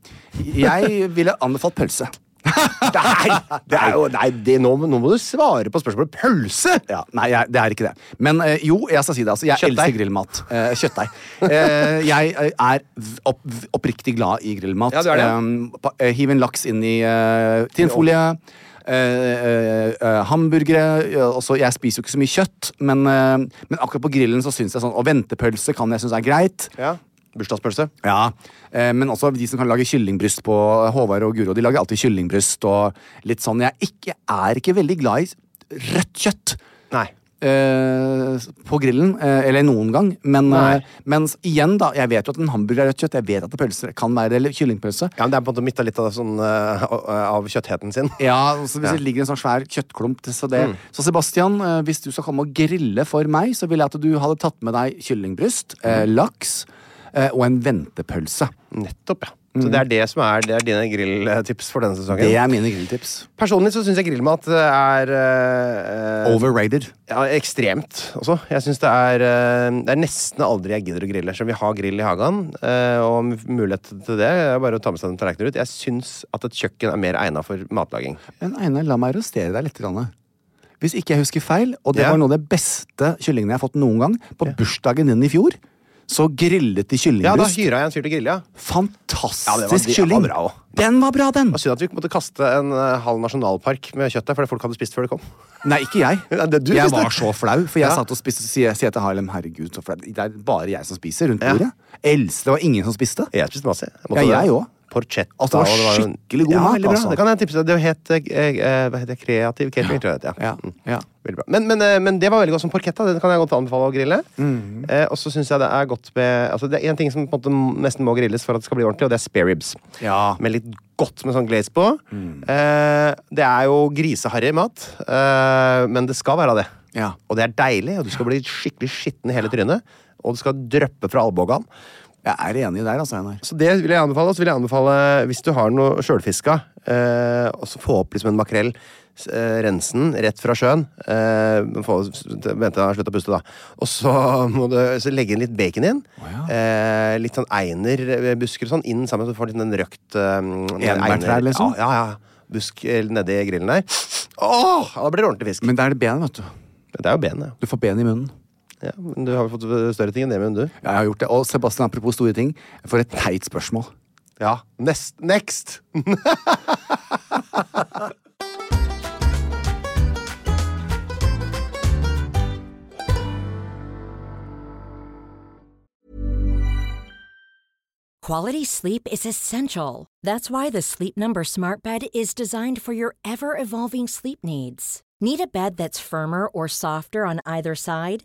Speaker 5: Jeg ville anbefalt pølse.
Speaker 4: Nei, det er jo, nei det, nå, nå må du svare på spørsmålet. Pølse!
Speaker 5: Ja, nei, jeg, det er ikke det. Men eh, jo, jeg skal si det. altså. Jeg
Speaker 4: Kjøttdeig.
Speaker 5: elsker grillmat. Eh, kjøttdeig. Eh, jeg eh, er v- opp, v- oppriktig glad i grillmat.
Speaker 4: Ja, du er det.
Speaker 5: Um, pa- eh, hiv en laks inn i uh, tinfolie. eh, eh, eh, hamburgere. eh, Også, jeg spiser jo ikke så mye kjøtt, men, eh, men akkurat på grillen så syns jeg sånn Og ventepølse kan jeg synes er greit.
Speaker 4: Ja. Bursdagspølse.
Speaker 5: Ja, eh, Men også de som kan lage kyllingbryst på eh, Håvard og Guro. De lager alltid kyllingbryst og litt sånn. Jeg er ikke, er ikke veldig glad i rødt kjøtt.
Speaker 4: Nei.
Speaker 5: Eh, på grillen, eh, eller noen gang. Men,
Speaker 4: Nei.
Speaker 5: eh, men s- igjen, da. Jeg vet jo at en hamburger er rødt kjøtt. Jeg vet at det pølser kan være eller kyllingpølse.
Speaker 4: Ja, men Det er på en måte midt av litt av, sånn, eh, av kjøttheten sin.
Speaker 5: Ja, altså Hvis
Speaker 4: Ja. Mm.
Speaker 5: det ligger en sånn svær kjøttklump til- så det. Så Sebastian, eh, hvis du skal komme og grille for meg, så ville jeg at du hadde tatt med deg kyllingbryst, eh,
Speaker 4: Mm.
Speaker 5: laks eh, og en ventepølse.
Speaker 4: Nettopp, ja. Så det er det som er, det er dine grilltips for denne sesongen.
Speaker 5: Det er mine grilltips.
Speaker 4: Personlig så syns jeg grillmat er eh,
Speaker 5: Overrated.
Speaker 4: ja, ekstremt også. Jeg synes det er eh, Det er nesten aldri jeg gidder å grille. Selv om vi har grill i hagen, eh, og med mulighet til det, er det bare å ta med seg noen tallerkener ut. Jeg syns at et kjøkken er mer egna for matlaging.
Speaker 5: Men Einar, la meg arrestere deg litt. Grann. Hvis ikke jeg husker feil, og det
Speaker 4: Ja.
Speaker 5: var noe av det beste kyllingen jeg har fått noen gang, på bursdagen din i fjor, så grillet de
Speaker 4: Ja, da
Speaker 5: kyllingbrust.
Speaker 4: hyra jeg en fyr til å grille, ja. Ja, det var- det
Speaker 5: Fantastisk
Speaker 4: var
Speaker 5: kylling!
Speaker 4: bra også.
Speaker 5: den var bra, den!
Speaker 4: Det var synd at vi måtte kaste en eh, halv nasjonalpark med kjøtt der, fordi folk hadde spist før det kom.
Speaker 5: Nei, ikke jeg.
Speaker 4: Ja, det- du
Speaker 5: jeg
Speaker 4: synes det.
Speaker 5: var så flau, for jeg
Speaker 4: Ja.
Speaker 5: satt og spiste og sier, sier til Harlem herregud, så flau. Det er bare jeg som spiser rundt bordet. Else, det var ingen som spiste.
Speaker 4: Jeg spiste masse. Jeg
Speaker 5: Ja, jeg
Speaker 4: det.
Speaker 5: også.
Speaker 4: Porchetta.
Speaker 5: Altså, det var
Speaker 4: og jo-
Speaker 5: skikkelig god
Speaker 4: ja,
Speaker 5: mat,
Speaker 4: veldig bra.
Speaker 5: altså.
Speaker 4: Det kan jeg tipse deg. Det het eh, eh, hva heter det? kreativ catering, tror jeg det het. Ja.
Speaker 5: Ja,
Speaker 4: Mm.
Speaker 5: ja.
Speaker 4: Veldig bra. Men, men, eh, men det var veldig godt som porchetta. Den kan jeg godt anbefale å grille.
Speaker 5: Mhm.
Speaker 4: Eh, og så synes jeg det er godt med altså, Det er en ting som på en måte nesten må grilles for at det skal bli ordentlig, og det er spareribs.
Speaker 5: Ja. Mm.
Speaker 4: Med litt godt med sånn glaze på. Eh, det er jo griseharry mat, eh, men det skal være det.
Speaker 5: Ja.
Speaker 4: Og det er deilig, og du skal bli skikkelig skitten i hele trynet. Og du skal dryppe fra albuene.
Speaker 5: Jeg er enig der, altså, Einar.
Speaker 4: Så det vil jeg anbefale. Og så vil jeg anbefale, hvis du har noe sjølfiska, eh, og så få opp liksom en makrell. s- Eh, rense den rett fra sjøen. Eh, få, s- vente til den har sluttet å puste, da. Og så må du så legge inn litt bacon inn. eh, litt sånn einerbusker og sånn inn sammen, så du får litt den røkt eh,
Speaker 5: Enebærtrær,
Speaker 4: einer-
Speaker 5: liksom?
Speaker 4: Ja, ja, ja. Busk eh, nedi grillen der. Åh, ja, da blir det ordentlig fisk.
Speaker 5: Men det er det ben, vet du.
Speaker 4: det er jo ben, ja.
Speaker 5: Du får ben i munnen.
Speaker 4: ja. Men du har jo fått større ting enn det, men du.
Speaker 5: Ja, jeg har gjort det. Og Sebastian, apropos store ting, for et teit spørsmål.
Speaker 4: Ja. Nest, next!
Speaker 6: Quality sleep is essential. That's why the Sleep Number Smart Bed is designed for your ever evolving sleep needs. Need a bed that's firmer or softer on either side?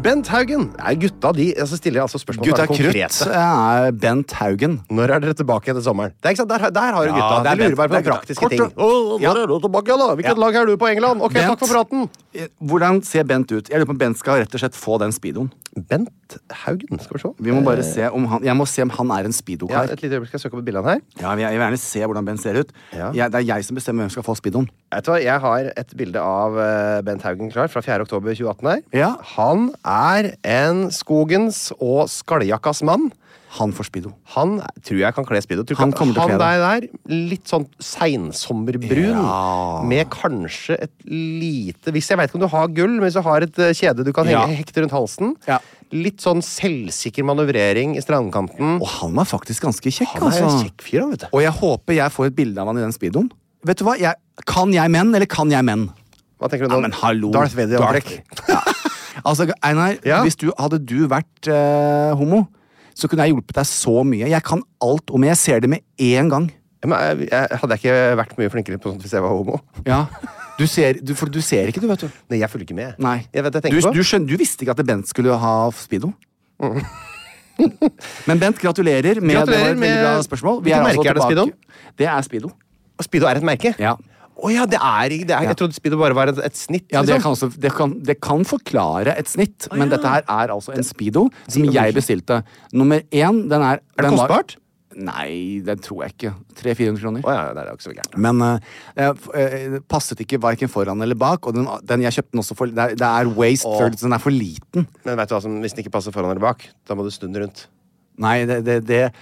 Speaker 4: Bent Haugen! Nei, gutta de altså stiller altså spørsmål som
Speaker 5: Gutta
Speaker 4: er konkrete.
Speaker 5: Krutt eh, er Bent Haugen.
Speaker 4: Når er dere tilbake etter sommeren? Det er ikke sant, Der, der har du
Speaker 5: Ja,
Speaker 4: gutta.
Speaker 5: det er
Speaker 4: de
Speaker 5: Bent.
Speaker 4: lurer bare
Speaker 5: Det
Speaker 4: på
Speaker 5: er gutta.
Speaker 4: praktiske
Speaker 5: Kort,
Speaker 4: ting.
Speaker 5: ja. Å,
Speaker 4: ja.
Speaker 5: når er
Speaker 4: du tilbake, da?
Speaker 5: Hvilket
Speaker 4: lag er du på England? Ok,
Speaker 5: Bent. Hvordan ser Bent ut? Jeg lurer på om Bent skal rett og slett få den speedoen.
Speaker 4: Bent Haugen, skal vi se.
Speaker 5: Vi må bare se om han, jeg må se om han er
Speaker 4: Eh.
Speaker 5: en
Speaker 4: Ja,
Speaker 5: speedo-kar.
Speaker 4: et lite øyeblikk skal jeg søke opp et bilde av han her.
Speaker 5: Ja, jeg, jeg vil gjerne se hvordan Bent ser ut.
Speaker 4: Ja.
Speaker 5: Jeg, det er jeg som bestemmer hvem som skal få speedoen.
Speaker 4: Vet du hva, Jeg har et bilde av eh, Bent Haugen klar fra 4. oktober 2018 her.
Speaker 5: Ja.
Speaker 4: Han er en skogens og skalljakkas mann.
Speaker 5: Han får speedo.
Speaker 4: Han tror jeg kan kle speedo. Tror du
Speaker 5: Han
Speaker 4: ikke-
Speaker 5: kommer til å kle
Speaker 4: han der, der, litt sånn seinsommerbrun,
Speaker 5: Ja.
Speaker 4: med kanskje et lite Hvis jeg veit ikke om du har gull, men hvis du har et eh, kjede du kan
Speaker 5: Ja.
Speaker 4: henge, hekte rundt halsen.
Speaker 5: Ja.
Speaker 4: Litt sånn selvsikker manøvrering i strandkanten.
Speaker 5: Og han var faktisk ganske kjekk,
Speaker 4: Han er en
Speaker 5: altså.
Speaker 4: kjekk fyr, han, vet du.
Speaker 5: Og jeg håper jeg får et bilde av han i den speedoen. Vet du hva? Jeg, kan jeg menn, eller kan jeg menn?
Speaker 4: Hva tenker du
Speaker 5: Ja,
Speaker 4: nå?
Speaker 5: men hallo.
Speaker 4: Darth Vader-antrekk.
Speaker 5: Ja. Altså, Einar,
Speaker 4: Ja.
Speaker 5: hvis du, hadde du vært eh, homo, så kunne jeg hjulpet deg så mye. Jeg kan alt om Jeg ser det med én gang.
Speaker 4: Men eh, jeg- jeg- Hadde jeg ikke vært mye flinkere på sånt hvis jeg var homo?
Speaker 5: Ja. Du ser, du, for du ser ikke, du, vet du.
Speaker 4: Nei, jeg følger ikke med.
Speaker 5: Nei.
Speaker 4: Jeg vet, jeg
Speaker 5: du,
Speaker 4: tenker på. Mm.
Speaker 5: du, skjøn, du visste ikke at Bent skulle ha speedo? Men Bent, gratulerer med
Speaker 4: Gratulerer
Speaker 5: det var et veldig bra
Speaker 4: med-
Speaker 5: spørsmål.
Speaker 4: Hvilket merke er det,
Speaker 5: tilbake-
Speaker 4: speedoen?
Speaker 5: Det er speedo.
Speaker 4: Og Speedo er et merke?
Speaker 5: Ja.
Speaker 4: Å ja, det er ikke det. Er,
Speaker 5: Ja.
Speaker 4: Jeg trodde Speedo bare var et, et snitt.
Speaker 5: Ja, det
Speaker 4: liksom.
Speaker 5: kan, også, det, kan, det kan forklare et snitt, men dette her er altså en Speedo som jeg bestilte. Nummer én, den er
Speaker 4: Er det
Speaker 5: den var-
Speaker 4: kostbart?
Speaker 5: Nei, det tror jeg ikke. 300-400 kroner.
Speaker 4: Å ja, nei, det er jo ikke så gærent.
Speaker 5: Men eh, eh, f- eh, passet ikke verken foran eller bak, og den, den jeg kjøpte den også for Det er, det er waist third, så den er for liten.
Speaker 4: Men vet du hva som, hvis den ikke passer foran eller bak, da må du snu den rundt.
Speaker 5: Nei, det, det, det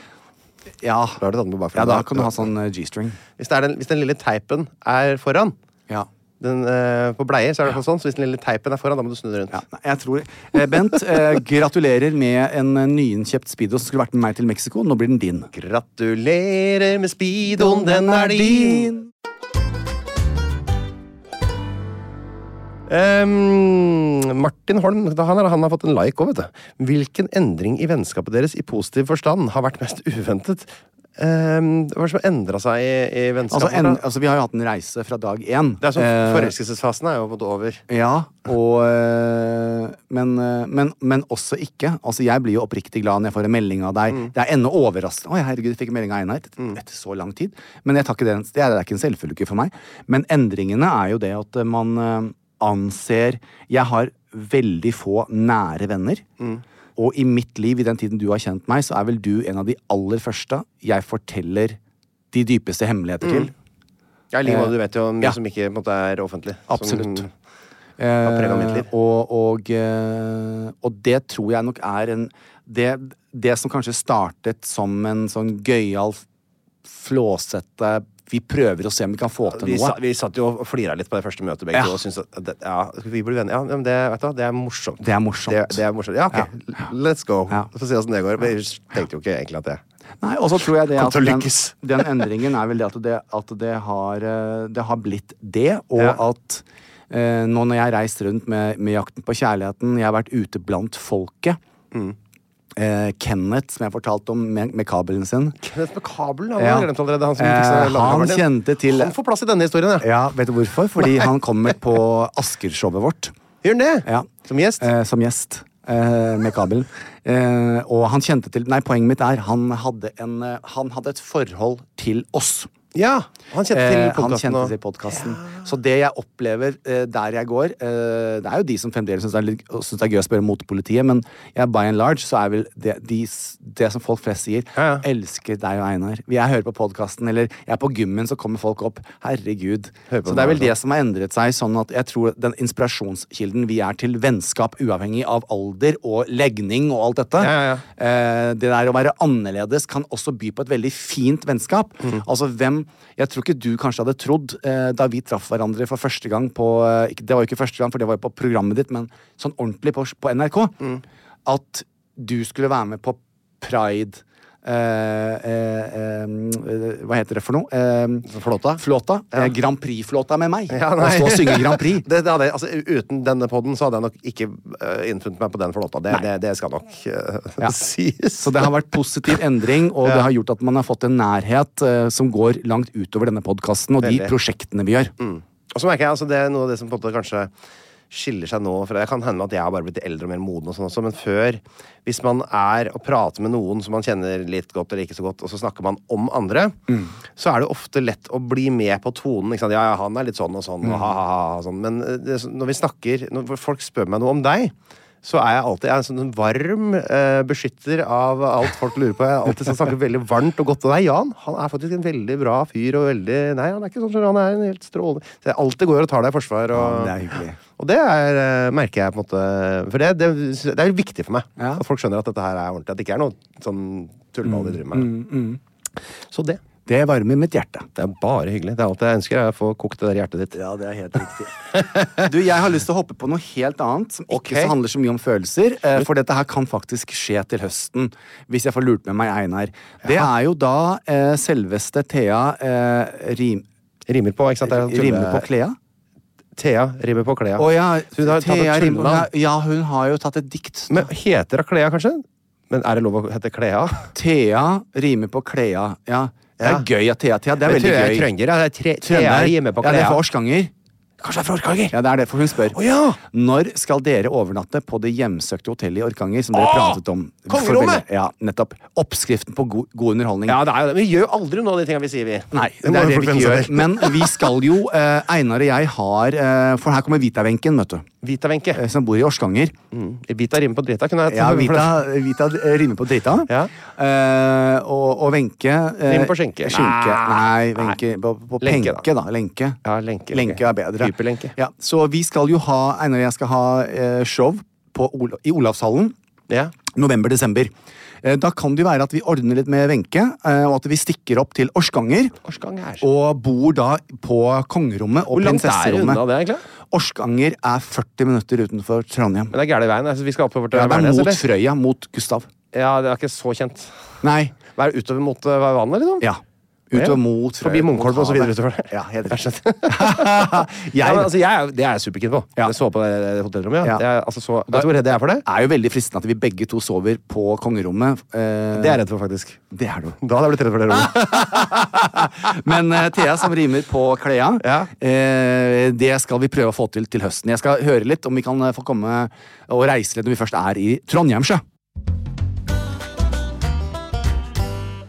Speaker 5: Ja.
Speaker 4: Da har du tatt den på bakfra.
Speaker 5: ja, da kan du ha sånn eh, G-string.
Speaker 4: Hvis, det er den, hvis den lille teipen er foran
Speaker 5: Ja.
Speaker 4: den, eh, På bleier så er det i hvert fall sånn, så hvis den lille teipen er foran, da må du snu den rundt.
Speaker 5: Ja, nei, jeg tror eh, Bent, eh, gratulerer med en eh, nyinnkjøpt Speedo som skulle vært med meg til Mexico. Nå blir den din.
Speaker 4: Gratulerer med speedoen, den er din! Ehm, Martin Holm da han, er- han har fått en like òg, vet du. Hvilken endring i vennskapet deres i positiv forstand har vært mest uventet? Ehm, hva er det som har endra seg i, i
Speaker 5: Altså,
Speaker 4: vennskapet?
Speaker 5: en,
Speaker 4: da?
Speaker 5: altså, vi har jo hatt en reise fra dag én.
Speaker 4: det er sånn,
Speaker 5: Eh,
Speaker 4: Forelskelsesfasen er jo på en måte over.
Speaker 5: ja, og eh, men, eh, men, men også ikke. Altså, jeg blir jo oppriktig glad når jeg får en melding av deg.
Speaker 4: Mm.
Speaker 5: Det er ennå overraskende. Å, herregud, jeg fikk en melding av Einar etter, etter så lang tid. Men jeg tar ikke det, det er det er ikke en selvfølge for meg. Men endringene er jo det at eh, man eh, anser Jeg har veldig få nære venner.
Speaker 4: Mm.
Speaker 5: Og i mitt liv, i den tiden du har kjent meg, så er vel du en av de aller første jeg forteller de dypeste
Speaker 4: Mm.
Speaker 5: hemmeligheter til.
Speaker 4: Ja, i like måte, du vet jo mye
Speaker 5: Eh, ja.
Speaker 4: som ikke på en måte, er offentlig. Sånn,
Speaker 5: Absolutt.
Speaker 4: Som,
Speaker 5: Eh,
Speaker 4: preg av mitt liv.
Speaker 5: Og, og, eh, og det tror jeg nok er en Det, det som kanskje startet som en sånn gøyal, f- flåsete Vi prøver å se om vi kan få til
Speaker 4: vi,
Speaker 5: noe.
Speaker 4: sa, vi satt jo og flira litt på det første møtet, begge
Speaker 5: Ja.
Speaker 4: to. Og syntes at det, ja, skal vi bli venner? Ja, men det, vet du, hva, det er morsomt.
Speaker 5: Det er morsomt.
Speaker 4: Det, det er morsomt. Ja, ok.
Speaker 5: Ja.
Speaker 4: Let's go.
Speaker 5: Ja.
Speaker 4: Så får vi se åssen det går. Men jeg tenkte jo ikke egentlig at det
Speaker 5: Nei, og så tror jeg det
Speaker 4: Kom
Speaker 5: at
Speaker 4: til å
Speaker 5: den,
Speaker 4: lykkes.
Speaker 5: den endringen er vel det at det, at det, har, eh, det har blitt det, og
Speaker 4: Ja.
Speaker 5: at eh, nå når jeg har reist rundt med, med Jakten på kjærligheten, jeg har vært ute blant folket eh, Kenneth, som jeg fortalte om, med, med kabelen sin.
Speaker 4: Kenneth med kabelen, han
Speaker 5: Ja.
Speaker 4: har glemt allerede. Han som
Speaker 5: Eh,
Speaker 4: fiksa
Speaker 5: han
Speaker 4: landekameraet din.
Speaker 5: kjente til Eh.
Speaker 4: Han får plass i denne historien, ja.
Speaker 5: Ja, vet du hvorfor? Fordi han kommer på Asker-showet vårt.
Speaker 4: Gjør han det?
Speaker 5: Ja.
Speaker 4: Som gjest?
Speaker 5: Eh, som gjest. Eh, med kabelen. Eh, og han kjente til Nei, poenget mitt er han hadde, en, eh, han hadde et forhold til oss.
Speaker 4: ja. Han kjente til
Speaker 5: Eh, han
Speaker 4: podkasten
Speaker 5: kjente
Speaker 4: og
Speaker 5: til podkasten. Så det jeg opplever eh, der jeg går eh, Det er jo de som fremdeles syns det, er litt- synes det er gøy å spørre mot politiet, men jeg, by and large så er vel det, de, s- det som folk flest sier.
Speaker 4: Ja, ja.
Speaker 5: Elsker deg og Einar. Jeg hører på podkasten, eller jeg er på gymmen, så kommer folk opp. Herregud.
Speaker 4: Hører på
Speaker 5: Så det er
Speaker 4: meg,
Speaker 5: vel det som har endret seg, sånn at jeg tror den inspirasjonskilden vi er til vennskap, uavhengig av alder og legning og alt dette,
Speaker 4: Ja, ja, ja.
Speaker 5: Eh, det der å være annerledes kan også by på et veldig fint vennskap.
Speaker 4: Mhm.
Speaker 5: Altså hvem Jeg tror ikke du kanskje hadde trodd, eh, da vi traff hverandre for første gang på eh, ikke- Det var jo ikke første gang, for det var jo på programmet ditt, men sånn ordentlig på, på NRK.
Speaker 4: Mhm.
Speaker 5: At du skulle være med på Pride eh, eh, eh, Hva heter det for noe? Eh,
Speaker 4: Flåta?
Speaker 5: Flåta. Eh, Grand Prix-flåta med meg.
Speaker 4: Ja,
Speaker 5: og
Speaker 4: nei.
Speaker 5: stå og synge Grand Prix.
Speaker 4: Det, det hadde jeg, altså, uten denne podden så hadde jeg nok ikke eh, innfunnet meg på den flåta. Det,
Speaker 5: Nei.
Speaker 4: det, det skal nok eh,
Speaker 5: Ja.
Speaker 4: sies.
Speaker 5: Så det har vært positiv endring, og det har gjort at man har fått en nærhet eh, som går langt utover denne podkasten og
Speaker 4: Veldig.
Speaker 5: de prosjektene vi gjør.
Speaker 4: Og så merker jeg, altså, Det er noe av det som på en måte kanskje skiller seg nå fra Det kan hende at jeg har bare blitt eldre og mer moden, og sånn også, men før, hvis man er og prater med noen som man kjenner litt godt eller ikke så godt, og så snakker man om andre, så er det ofte lett å bli med på tonen. Ikke sant? Ja, ja, han er litt sånn og sånn, og ha, ha, ha, ha, sånn. Men eh, det, er sånn- når vi snakker Når folk spør meg noe om deg, så er jeg alltid jeg er en sånn varm eh, beskytter av alt folk lurer på. Jeg er alltid sånn snakker veldig varmt og godt om deg. Jan han er faktisk en veldig bra fyr. og veldig, Nei, han er ikke sånn, skjønner du, han er en helt strålende Så jeg alltid går og tar deg i forsvar. Og,
Speaker 5: Ja, det er hyggelig.
Speaker 4: og det er, eh, merker jeg på en måte For det, det, det er viktig for meg.
Speaker 5: Ja.
Speaker 4: At folk skjønner at dette her er ordentlig. At det ikke er noe sånn tullball de driver med.
Speaker 5: Mm,
Speaker 4: Så det.
Speaker 5: Det varmer mitt hjerte.
Speaker 4: Det er bare hyggelig. Det er alt jeg ønsker, er å få kokt det der hjertet ditt.
Speaker 5: Ja, det er helt riktig. Du, Jeg har lyst til å hoppe på noe helt annet, som ikke
Speaker 4: Ok.
Speaker 5: så handler så mye om følelser. eh, For dette her kan faktisk skje til høsten, hvis jeg får lurt med meg Einar. Det er jo da eh, selveste Thea eh, rim,
Speaker 4: Rimer på, ikke sant? Det er sånn tulle-
Speaker 5: Rimer på Klea.
Speaker 4: Thea rimer på Klea.
Speaker 5: Å ja,
Speaker 4: Så hun har tatt
Speaker 5: Thea
Speaker 4: et
Speaker 5: Rimer-
Speaker 4: tullenavn.
Speaker 5: Ja, hun har jo tatt et dikt.
Speaker 4: Men heter det Klea, kanskje? Men er det lov å hete Klea?
Speaker 5: Thea rimer på Klea. Ja. Det er
Speaker 4: Ja.
Speaker 5: gøy at Thea Thea. Det er veldig
Speaker 4: Tror jeg
Speaker 5: gøy.
Speaker 4: Trønder, ja. Det er tre,
Speaker 5: Trønder.
Speaker 4: Thea rimer på
Speaker 5: Ja, det
Speaker 4: Klea.
Speaker 5: er fra Orskanger.
Speaker 4: Kanskje det er fra Orkanger?
Speaker 5: Ja, det er det, for hun spør.
Speaker 4: Å, ja!
Speaker 5: Når skal dere overnatte på det hjemsøkte hotellet i Orkanger som dere
Speaker 4: Å!
Speaker 5: pratet om? for
Speaker 4: Kongerommet!
Speaker 5: veldig- Ja, nettopp. Oppskriften på god, god underholdning.
Speaker 4: Ja, det er jo det. Men vi gjør jo aldri noe av de tinga vi sier, vi.
Speaker 5: Nei, det,
Speaker 4: må
Speaker 5: er
Speaker 4: jo
Speaker 5: det
Speaker 4: folk
Speaker 5: vi ikke
Speaker 4: venne seg
Speaker 5: gjør.
Speaker 4: til.
Speaker 5: Men vi skal jo eh, Einar og jeg har eh, For her kommer Vitavenken, vet du.
Speaker 4: Vita Wenche.
Speaker 5: eh, Som bor i Orskanger.
Speaker 4: Vita rimer på drita, kunne jeg
Speaker 5: Ja, Vita, Vita rimer på drita.
Speaker 4: Ja.
Speaker 5: Eh, og, og Wenche eh,
Speaker 4: Rimer på skinke.
Speaker 5: Nei, Wenche på, på
Speaker 4: Lenke,
Speaker 5: penke, da. Lenke.
Speaker 4: Ja, lenke, ok.
Speaker 5: lenke er bedre.
Speaker 4: Hyperlenke.
Speaker 5: Ja, så vi skal jo ha Einar og jeg skal ha eh, show på Ol i Olavshallen.
Speaker 4: Ja.
Speaker 5: November-desember. Eh, Da kan det jo være at vi ordner litt med Wenche, eh, og at vi stikker opp til Orskanger.
Speaker 4: Orskanger.
Speaker 5: Og bor da på kongerommet og
Speaker 4: Hvor langt er det unna
Speaker 5: prinsesserommet.
Speaker 4: det, egentlig?
Speaker 5: Orskanger er 40 minutter utenfor Trondheim.
Speaker 4: Men det er gæle veien. Altså, vi skal oppover til
Speaker 5: Ja, det er
Speaker 4: Værnes,
Speaker 5: mot
Speaker 4: eller?
Speaker 5: Frøya, mot Gustav.
Speaker 4: Ja, det er ikke så kjent.
Speaker 5: Nei.
Speaker 4: Vær utover mot uh, vannet, liksom?
Speaker 5: Ja. Utover mot
Speaker 4: Forbi
Speaker 5: Frøya, mot
Speaker 4: Munkholm og så videre
Speaker 5: havet.
Speaker 4: utover der.
Speaker 5: Ja, helt
Speaker 4: Jeg
Speaker 5: riktig.
Speaker 4: skjønte. ja, men, altså, jeg, er jo- det er jeg superkeen på.
Speaker 5: Ja.
Speaker 4: Jeg så på det det hotellrommet. Ja.
Speaker 5: Ja.
Speaker 4: Jeg, er altså, så, vet du hvor redd jeg er for det?
Speaker 5: Det er jo veldig fristende at vi begge to sover på kongerommet. eh,
Speaker 4: Det er jeg redd for, faktisk.
Speaker 5: det er du.
Speaker 4: Da hadde jeg blitt redd for det rommet.
Speaker 5: Men eh, Thea, som rimer på Klea,
Speaker 4: Ja.
Speaker 5: eh, det skal vi prøve å få til til høsten. Jeg skal høre litt om vi kan eh, få komme og reise litt når vi først er i Trondheimsjø.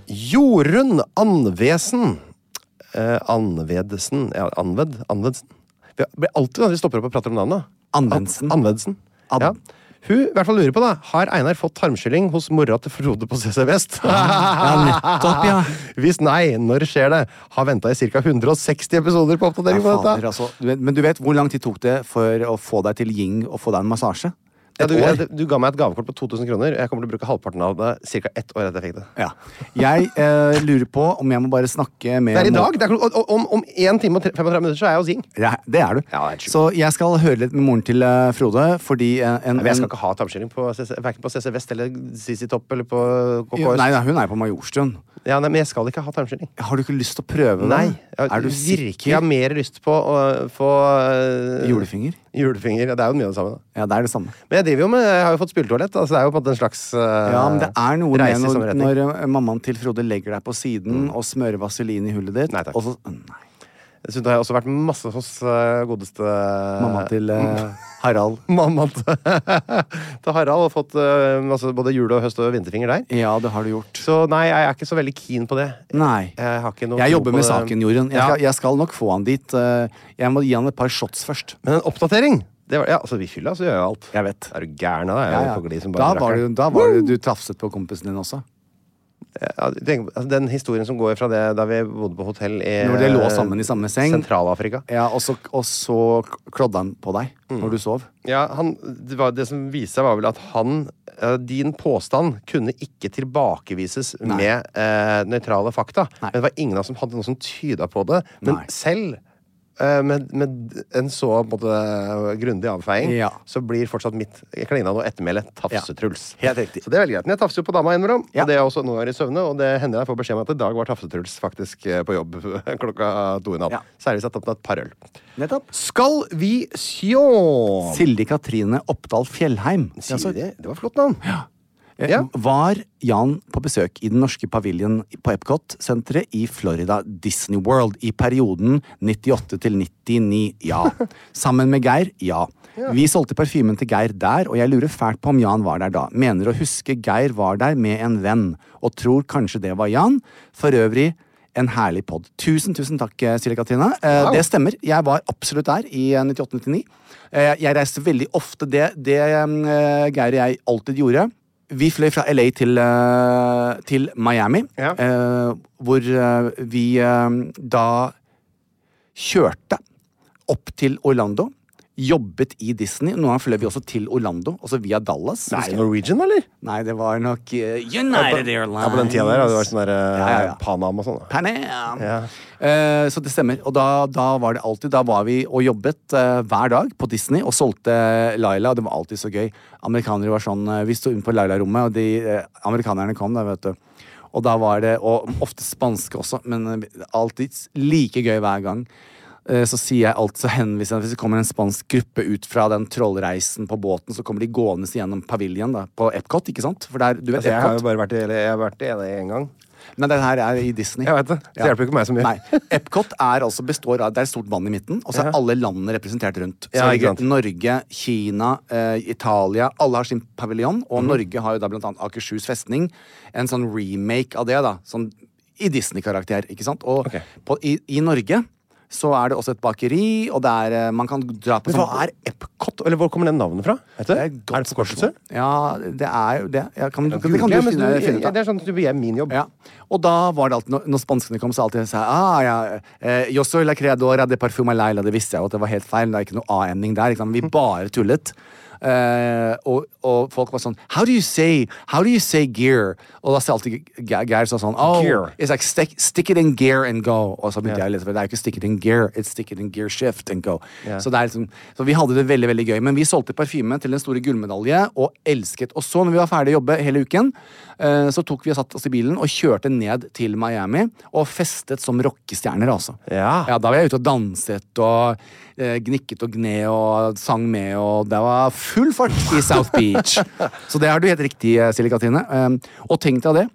Speaker 4: Jorunn Anvesen. Eh, Anvedesen Ja, Anved? Anvedsen. Vi blir alltid når vi stopper opp og prater om navnet.
Speaker 5: Anvensen.
Speaker 4: An Anvedsen.
Speaker 5: An-
Speaker 4: ja. Hun i hvert fall lurer på da, har Einar fått tarmskylling hos mora til Frode på CC Vest.
Speaker 5: nettopp, ja.
Speaker 4: Hvis nei, når skjer det? Har venta i ca. 160 episoder på oppdatering på
Speaker 5: Ja,
Speaker 4: dette.
Speaker 5: fader, altså. Du vet- Men du vet hvor lang tid tok det for å få deg til yin og få deg en massasje? Et
Speaker 4: Ja, du,
Speaker 5: år?
Speaker 4: jeg, du ga meg et gavekort på 2000 kroner. Jeg kommer til å bruke halvparten av det cirka ett år etter jeg fikk det.
Speaker 5: Ja. Jeg eh, lurer på om jeg må bare snakke med
Speaker 4: Det er i
Speaker 5: Mo-
Speaker 4: dag! Det er, klok- om- om, om 1 time og tre- 35 minutter så er jeg hos Ying.
Speaker 5: Ja, det er du.
Speaker 4: Ja, det er sjukt.
Speaker 5: så jeg skal høre litt med moren til eh, Frode, fordi eh, en,
Speaker 4: Men jeg skal
Speaker 5: en-
Speaker 4: ikke ha tarmskylling på CC verken på CC Vest eller CC Topp eller på
Speaker 5: Jo,
Speaker 4: KKS.
Speaker 5: Nei, nei, hun er jo på Majorstuen.
Speaker 4: Ja, nei, men jeg skal ikke ha tarmskylling.
Speaker 5: Har du ikke lyst til å prøve det?
Speaker 4: Nei. Jeg,
Speaker 5: er du
Speaker 4: virkelig,
Speaker 5: sikker?
Speaker 4: jeg har mer lyst på å få øh,
Speaker 5: Julefinger?
Speaker 4: julefinger. Ja, Det er jo mye av det samme. da.
Speaker 5: Ja, det er det samme.
Speaker 4: Men jeg driver jo med, jeg har jo fått spyletoalett. Altså, det er jo på en måte en slags øh,
Speaker 5: Ja, men det er noe
Speaker 4: reise i
Speaker 5: med når,
Speaker 4: samme retning.
Speaker 5: når eh, mammaen til Frode legger deg på siden og smører vaselin i hullet ditt.
Speaker 4: Nei, takk.
Speaker 5: Og så, nei,
Speaker 4: Dessuten har jeg også vært masse hos øh, godeste
Speaker 5: mammaen til eh,
Speaker 4: mm.
Speaker 5: Harald.
Speaker 4: Mammaen til, til Harald har fått eh, masse, både jul- og høst- og vinterfinger der.
Speaker 5: Ja, det har du gjort.
Speaker 4: Så nei, jeg er ikke så veldig keen på det.
Speaker 5: Nei.
Speaker 4: Jeg har ikke noe
Speaker 5: Jeg
Speaker 4: tro
Speaker 5: jobber
Speaker 4: på
Speaker 5: med
Speaker 4: det.
Speaker 5: saken, Jorunn. Jeg,
Speaker 4: Ja.
Speaker 5: skal- jeg skal nok få han dit. eh, Jeg må gi han et par shots først.
Speaker 4: Men en oppdatering! Det var, ja, altså, I fylla så gjør jeg alt.
Speaker 5: Jeg vet.
Speaker 4: Er du gæren av deg? Jeg er jo på glid Eh, som bare
Speaker 5: Da var
Speaker 4: rakkeren.
Speaker 5: det, da var det du tafset på kompisen din også.
Speaker 4: Ja, tenk, altså, den historien som går fra det da vi bodde på hotell i
Speaker 5: Når dere lå sammen i samme seng.
Speaker 4: Sentral-Afrika.
Speaker 5: Ja, og så, og så klodde han på deg
Speaker 4: Mm.
Speaker 5: når du sov.
Speaker 4: Ja, han, det, var, det som viste seg, var vel at han eh, Din påstand kunne ikke tilbakevises med eh, nøytrale fakta.
Speaker 5: Nei.
Speaker 4: Men det var ingen av oss som hadde noe som tyda på det. Men
Speaker 5: Nei.
Speaker 4: selv eh, med, med en så på en måte, grundig avfeiing,
Speaker 5: Ja.
Speaker 4: så blir fortsatt mitt klina og ettermæle Tafse-Truls.
Speaker 5: Ja. Helt riktig.
Speaker 4: Så det er veldig greit. Men jeg tafser jo på dama innimellom,
Speaker 5: Ja.
Speaker 4: og det er også noen ganger i søvne. Og det hender jeg får beskjed om at i dag var Tafse-Truls faktisk eh, på jobb klokka to i natt.
Speaker 5: Ja.
Speaker 4: Særlig hvis jeg har tatt meg et par øl.
Speaker 5: Nettopp.
Speaker 4: Skal vi sjå
Speaker 5: Silde Katrine Oppdal Fjellheim
Speaker 4: Sier de det? Det var flott navn.
Speaker 5: eh,
Speaker 4: Ja.
Speaker 5: var Jan på besøk i den norske paviljen på Epcot-senteret i Florida Disney World i perioden 98 til 99. Ja. Sammen med Geir. Ja. Vi solgte parfymen til Geir der, og jeg lurer fælt på om Jan var der da. Mener å huske Geir var der med en venn, og tror kanskje det var Jan. For øvrig en herlig pod. Tusen tusen takk, eh, Silje Katrine. Eh, Det stemmer. Jeg var absolutt der i eh, 98-99. Eh, Jeg reiste veldig ofte. Det, det eh, Geir og jeg alltid gjorde Vi fløy fra LA til, eh, til Miami,
Speaker 4: Ja.
Speaker 5: eh, hvor eh, vi eh, da kjørte opp til Orlando. Jobbet i Disney. Noen ganger fløy vi også til Orlando, også via Dallas.
Speaker 4: Nei,
Speaker 5: husker jeg.
Speaker 4: Norwegian, eller?
Speaker 5: Nei, det var nok eh, United Airlines.
Speaker 4: Ja, på den tida der. Det var sånn der
Speaker 5: Ja, ja, ja.
Speaker 4: Panam og sånn. da.
Speaker 5: Pan Am.
Speaker 4: Ja.
Speaker 5: Eh, så det stemmer. Og da, da var det alltid Da var vi og jobbet eh, hver dag på Disney og solgte Laila, og det var alltid så gøy. Amerikanere var sånn eh, Vi sto inne på Laila-rommet, og de eh, amerikanerne kom, da, vet du. Og da var det Og ofte spanske også, men eh, alltid like gøy hver gang. Eh, Så sier jeg alt så henviser jeg Hvis det kommer en spansk gruppe ut fra den trollreisen på båten, så kommer de gående gjennom paviljen da, på Epcot, ikke sant? For der, du vet
Speaker 4: Altså, jeg har jo
Speaker 5: Epcot?
Speaker 4: bare vært i, eller, jeg har vært i det én gang.
Speaker 5: Nei, den her er i Disney.
Speaker 4: Jeg vet det. Så hjelper jo ikke meg så mye.
Speaker 5: Nei. Epcot er altså består av Det er et stort vann i midten, og så er
Speaker 4: Ja.
Speaker 5: alle landene representert rundt. Så
Speaker 4: Ja, ikke
Speaker 5: ligger
Speaker 4: sant.
Speaker 5: Norge, Kina, eh, Italia Alle har sin paviljon, og
Speaker 4: Mhm.
Speaker 5: Norge har jo da blant annet Akershus festning. En sånn remake av det, da. Sånn i Disney-karakter, ikke sant? Og
Speaker 4: Ok.
Speaker 5: på, i, i Norge så er det også et bakeri, og det er eh, Man kan dra på sånn
Speaker 4: Men hva er Epcot? Eller hvor kommer Sånn- det navnet fra? Vet du?
Speaker 5: Det er et godt spørsmål. Ja, det er jo det. Ja, kan,
Speaker 4: Det
Speaker 5: det kan du finne, finne ut av.
Speaker 4: Det er sånn at du er min jobb.
Speaker 5: Ja. Og da var det alltid, når- når spanskene kom, så alltid sa ah, ja, eh, Yo soy la creadora de parfuma Laila. Det visste jeg jo at det var helt feil. Det er ikke noe A-ending der. Ikke sant? Vi bare tullet. Eh, og, og folk var sånn How do you say How do you say gear? Og da sa alltid Ge- Geir sa sånn oh,
Speaker 4: Gear.
Speaker 5: It's like stick, stick it in gear and go. Og så begynte jeg å lese for det er jo ikke stick it in gear, it's stick it in gear shift and go.
Speaker 4: Ja.
Speaker 5: Så, det er liksom, så vi hadde det veldig veldig gøy. Men vi solgte parfyme til den store gullmedalje og elsket. Og så, når vi var ferdig å jobbe hele uken, eh, så tok vi og satt oss i bilen og kjørte ned til Miami og festet som rockestjerner, altså.
Speaker 4: Ja.
Speaker 5: Da var jeg ute og danset og eh, gnikket og gned og sang med, og det var full fart i South Beach. så det har du helt riktig, eh, Silje Katrine. Eh, og tenk deg det.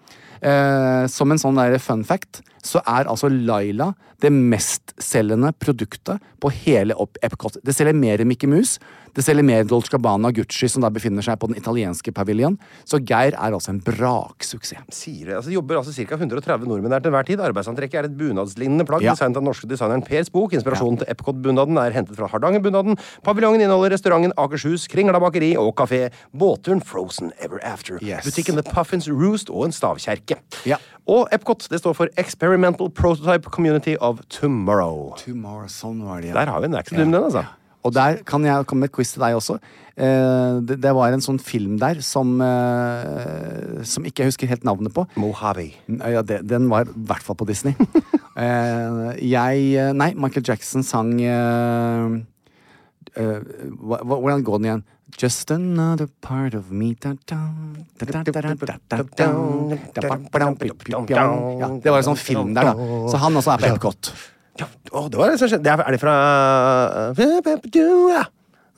Speaker 5: Eh, som en sånn der fun fact, så er altså Laila det mestselgende produktet på hele Op- Epcot. Det selger mer enn Mickey Mouse, det selger mer enn Dolce Gabbana og Gucci, som da befinner seg på den italienske paviljon. Så Geir er altså en braksuksess.
Speaker 4: Sier det. Altså, det jobber altså ca. 130 nordmenn der til hver tid. Arbeidsantrekket er et bunadslignende plagg
Speaker 5: Ja.
Speaker 4: designet av den norske designeren Pers Bok. Inspirasjonen til Epcot-bunaden er hentet fra Hardangerbunaden. Paviljongen inneholder restauranten Akershus, Kringla bakeri og kafé. Båtturen Frozen Ever After.
Speaker 5: Yes.
Speaker 4: Butikken The Puffins Roost og en stavkjerke.
Speaker 5: Ja.
Speaker 4: Og Epcot det står for Experimental Prototype Community of Tomorrow.
Speaker 5: Tomorrow, sånn var det,
Speaker 4: Der har vi en action den, altså.
Speaker 5: Og der kan jeg komme med et quiz til deg også. Eh, det, det var en sånn film der som, eh, som ikke jeg husker helt navnet på.
Speaker 4: Mojave.
Speaker 5: Ja, det, den var i hvert fall på Disney. Eh, jeg eh, Nei, Michael Jackson sang eh, eh, hva- hva- Hvordan går den igjen? Just another part of me da, da, da, da, da, da, da, da, da, da, ba, ba, da, bi, bi, bi, ja, Det var en sånn film der, da. Så han også er på Epcot.
Speaker 4: Ja, å, det var det som skjedde. Det er, er det fra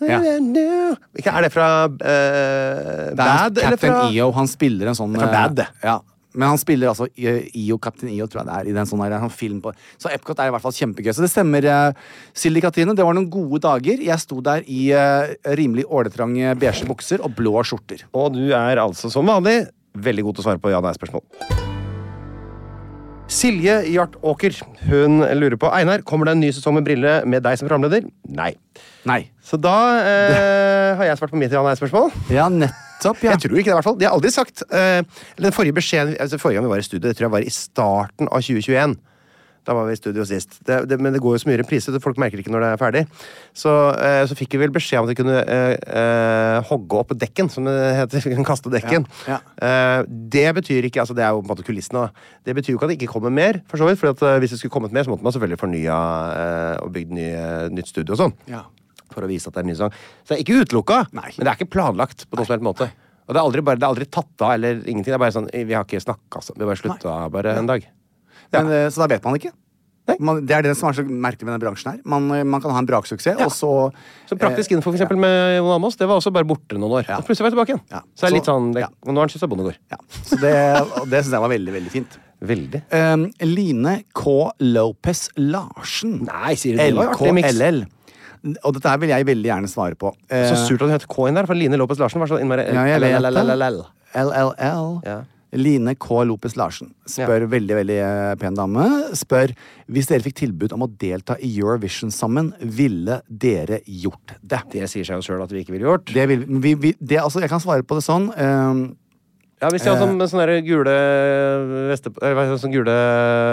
Speaker 5: Ja.
Speaker 4: Ikke, er det fra eh,
Speaker 5: Det er
Speaker 4: Bad, eller
Speaker 5: Captain
Speaker 4: fra
Speaker 5: IO. Han spiller en sånn
Speaker 4: Det er fra
Speaker 5: eh,
Speaker 4: Bad, det.
Speaker 5: Ja. Men han spiller altså eh, IO, Captain IO, tror jeg det er. I den sånn der, en film på. Så Epcot er i hvert fall kjempegøy. Så det stemmer, eh, Silje Katrine. Det var noen gode dager. Jeg sto der i eh, rimelig åletrange beige bukser og blå skjorter.
Speaker 4: Og du er altså som vanlig veldig god til å svare på ja-nei-spørsmål. Silje Hjartåker hun lurer på Einar, kommer det en ny sesong med Brille med deg som programleder. Nei.
Speaker 5: Nei.
Speaker 4: Så da eh, har jeg svart på mitt ja-nei-spørsmål.
Speaker 5: Ja, nettopp. Nettopp, ja.
Speaker 4: Jeg tror ikke det, i hvert fall. De har aldri sagt eh, eller Den forrige beskjeden altså, Forrige gang vi var i studio, det tror jeg var i starten av 2021. Da var vi i studio sist. Det, det, men det går jo så mye repriser, så folk merker ikke når det er ferdig. Så, eh, så fikk vi vel beskjed om at vi kunne eh, eh, hogge opp dekken, som det heter. Vi kan kaste dekken.
Speaker 5: Ja,
Speaker 4: Eh, det betyr ikke altså Det er jo på en måte kulissene. da. Det betyr jo ikke at det ikke kommer mer, for så vidt. For at, eh, hvis det skulle kommet mer, så måtte man selvfølgelig fornya eh, og bygd nye, nytt studio og sånn
Speaker 5: Ja.
Speaker 4: for å vise at det er en ny sang. Så det er ikke utelukka,
Speaker 5: Nei.
Speaker 4: men det er ikke planlagt på noen som helst måte. Og det er aldri, bare, det er aldri tatt av eller ingenting. Det er bare sånn, Vi har ikke snakka sånn. Vi bare slutta bare en dag.
Speaker 5: Men, eh, så da vet man ikke. Man, det er det som er så merkelig med den bransjen her. Man, eh, man kan ha en braksuksess, og så
Speaker 4: Så praktisk info for eksempel, med Jon Almaas, det var også bare borte noen år.
Speaker 5: Eh, Ja.
Speaker 4: Og plutselig var jeg tilbake igjen.
Speaker 5: Ja.
Speaker 4: Så det er litt
Speaker 5: Så-
Speaker 4: sånn, det,
Speaker 5: ja.
Speaker 4: og Nå er han Kjøstad Bondegård.
Speaker 5: Ja. Så det, og det syns jeg var veldig, veldig fint.
Speaker 4: Veldig.
Speaker 5: Um, Line K. Lopez Larsen.
Speaker 4: Nei, sier du det? Det var jo artig mix.
Speaker 5: LKLL. Og dette her vil jeg veldig gjerne svare på.
Speaker 4: Så
Speaker 5: Eh,
Speaker 4: surt at du het K-en der, for Line Lopez Larsen var så innmari
Speaker 5: Ja, jeg vet det.
Speaker 4: LLLLL.
Speaker 5: LLL.
Speaker 4: Ja.
Speaker 5: Line K. Lopez Larsen spør veldig veldig eh, pen dame. Spør hvis dere fikk tilbud om å delta i Eurovision sammen, ville dere gjort det?
Speaker 4: Det sier seg jo sjøl at vi ikke ville gjort.
Speaker 5: Det vil, vi, vi, det, altså, jeg kan svare på det sånn. ehm,
Speaker 4: Ja, Hvis de
Speaker 5: Eh.
Speaker 4: hadde sånn- sånne der gule eh, veste... Eller hva heter det, sånne gule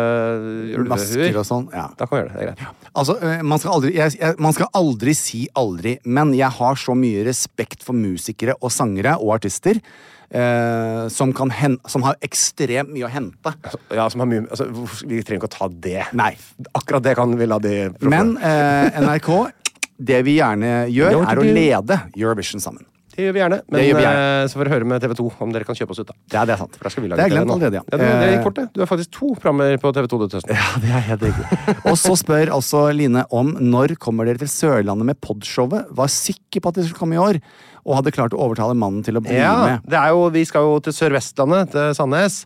Speaker 4: eh,
Speaker 5: masker
Speaker 4: ulvehuer,
Speaker 5: og sånn. Ja.
Speaker 4: da kan vi gjøre det. Det er greit.
Speaker 5: Altså, øh, man skal, aldri, jeg, jeg, man skal aldri si aldri, men jeg har så mye respekt for musikere og sangere og artister øh, som, kan hen, som har ekstremt mye å hente.
Speaker 4: Ja, som har mye altså, hvorfor- Vi trenger ikke å ta det.
Speaker 5: Nei.
Speaker 4: Akkurat det kan vi la de prøve.
Speaker 5: Men øh, NRK, det vi gjerne gjør, er å lede Eurovision sammen.
Speaker 4: det gjør vi gjerne. Men
Speaker 5: Det gjør vi gjerne.
Speaker 4: eh, så får dere høre med TV 2 om dere kan kjøpe oss ut, da.
Speaker 5: Ja, det er sant.
Speaker 4: For da skal vi lage
Speaker 5: det er
Speaker 4: TV
Speaker 5: glemt
Speaker 4: nå.
Speaker 5: allerede, ja.
Speaker 4: det, det
Speaker 5: Eh,
Speaker 4: gikk fort, det. Du har faktisk to programmer på TV 2 denne høsten.
Speaker 5: Ja, det er helt riktig. Og så spør også Line om når kommer dere til Sørlandet med podshowet. Var sikker på at det skulle komme i år, og hadde klart å overtale mannen til å bli
Speaker 4: Ja,
Speaker 5: med.
Speaker 4: det er jo, vi skal jo til Sør-Vestlandet, til Sandnes.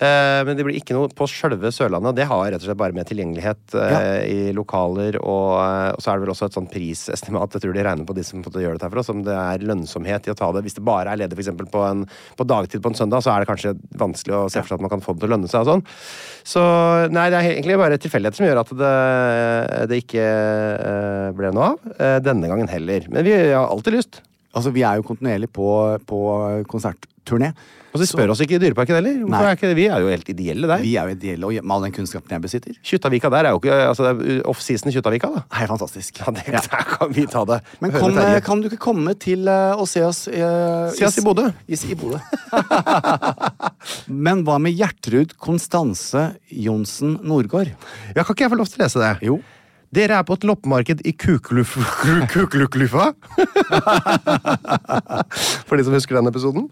Speaker 4: Eh, men det blir ikke noe på sjølve Sørlandet, og det har rett og slett bare med tilgjengelighet eh, i lokaler og, eh, og så er det vel også et sånn prisestimat. Jeg tror de regner på de som på en måte gjør dette her for oss, om det er lønnsomhet i å ta det. Hvis det bare er ledig for eksempel på, en, på dagtid på en søndag, så er det kanskje vanskelig å se for seg at man kan få det til å lønne seg og sånn. Så nei, det er egentlig bare tilfeldigheter som gjør at det, det ikke eh, ble noe av. eh, Denne gangen heller. Men vi har alltid lyst.
Speaker 5: Altså, Vi er jo kontinuerlig på, på konsertturné.
Speaker 4: Og de spør oss ikke i Dyreparken heller.
Speaker 5: Nei.
Speaker 4: Hvorfor er ikke det? Vi er jo helt ideelle der.
Speaker 5: Vi er jo ideelle, og med all den kunnskapen jeg besitter.
Speaker 4: Kjuttaviga der er jo ikke altså, det er Offseason i Kjuttaviga, da.
Speaker 5: Helt fantastisk.
Speaker 4: Ja, det, Der kan vi ta det.
Speaker 5: Men
Speaker 4: Høre
Speaker 5: kom,
Speaker 4: Terje.
Speaker 5: eh, kan du ikke komme til eh, å se oss eh,
Speaker 4: Se oss i Bodø.
Speaker 5: I, i Bodø. Men hva med Gjertrud Konstanse Johnsen Nordgaard?
Speaker 4: Ja, Kan ikke jeg få lov til å lese det?
Speaker 5: Jo.
Speaker 4: Dere er på et loppemarked i Kukluf- Kru- Kukluklufa. For de som husker den episoden.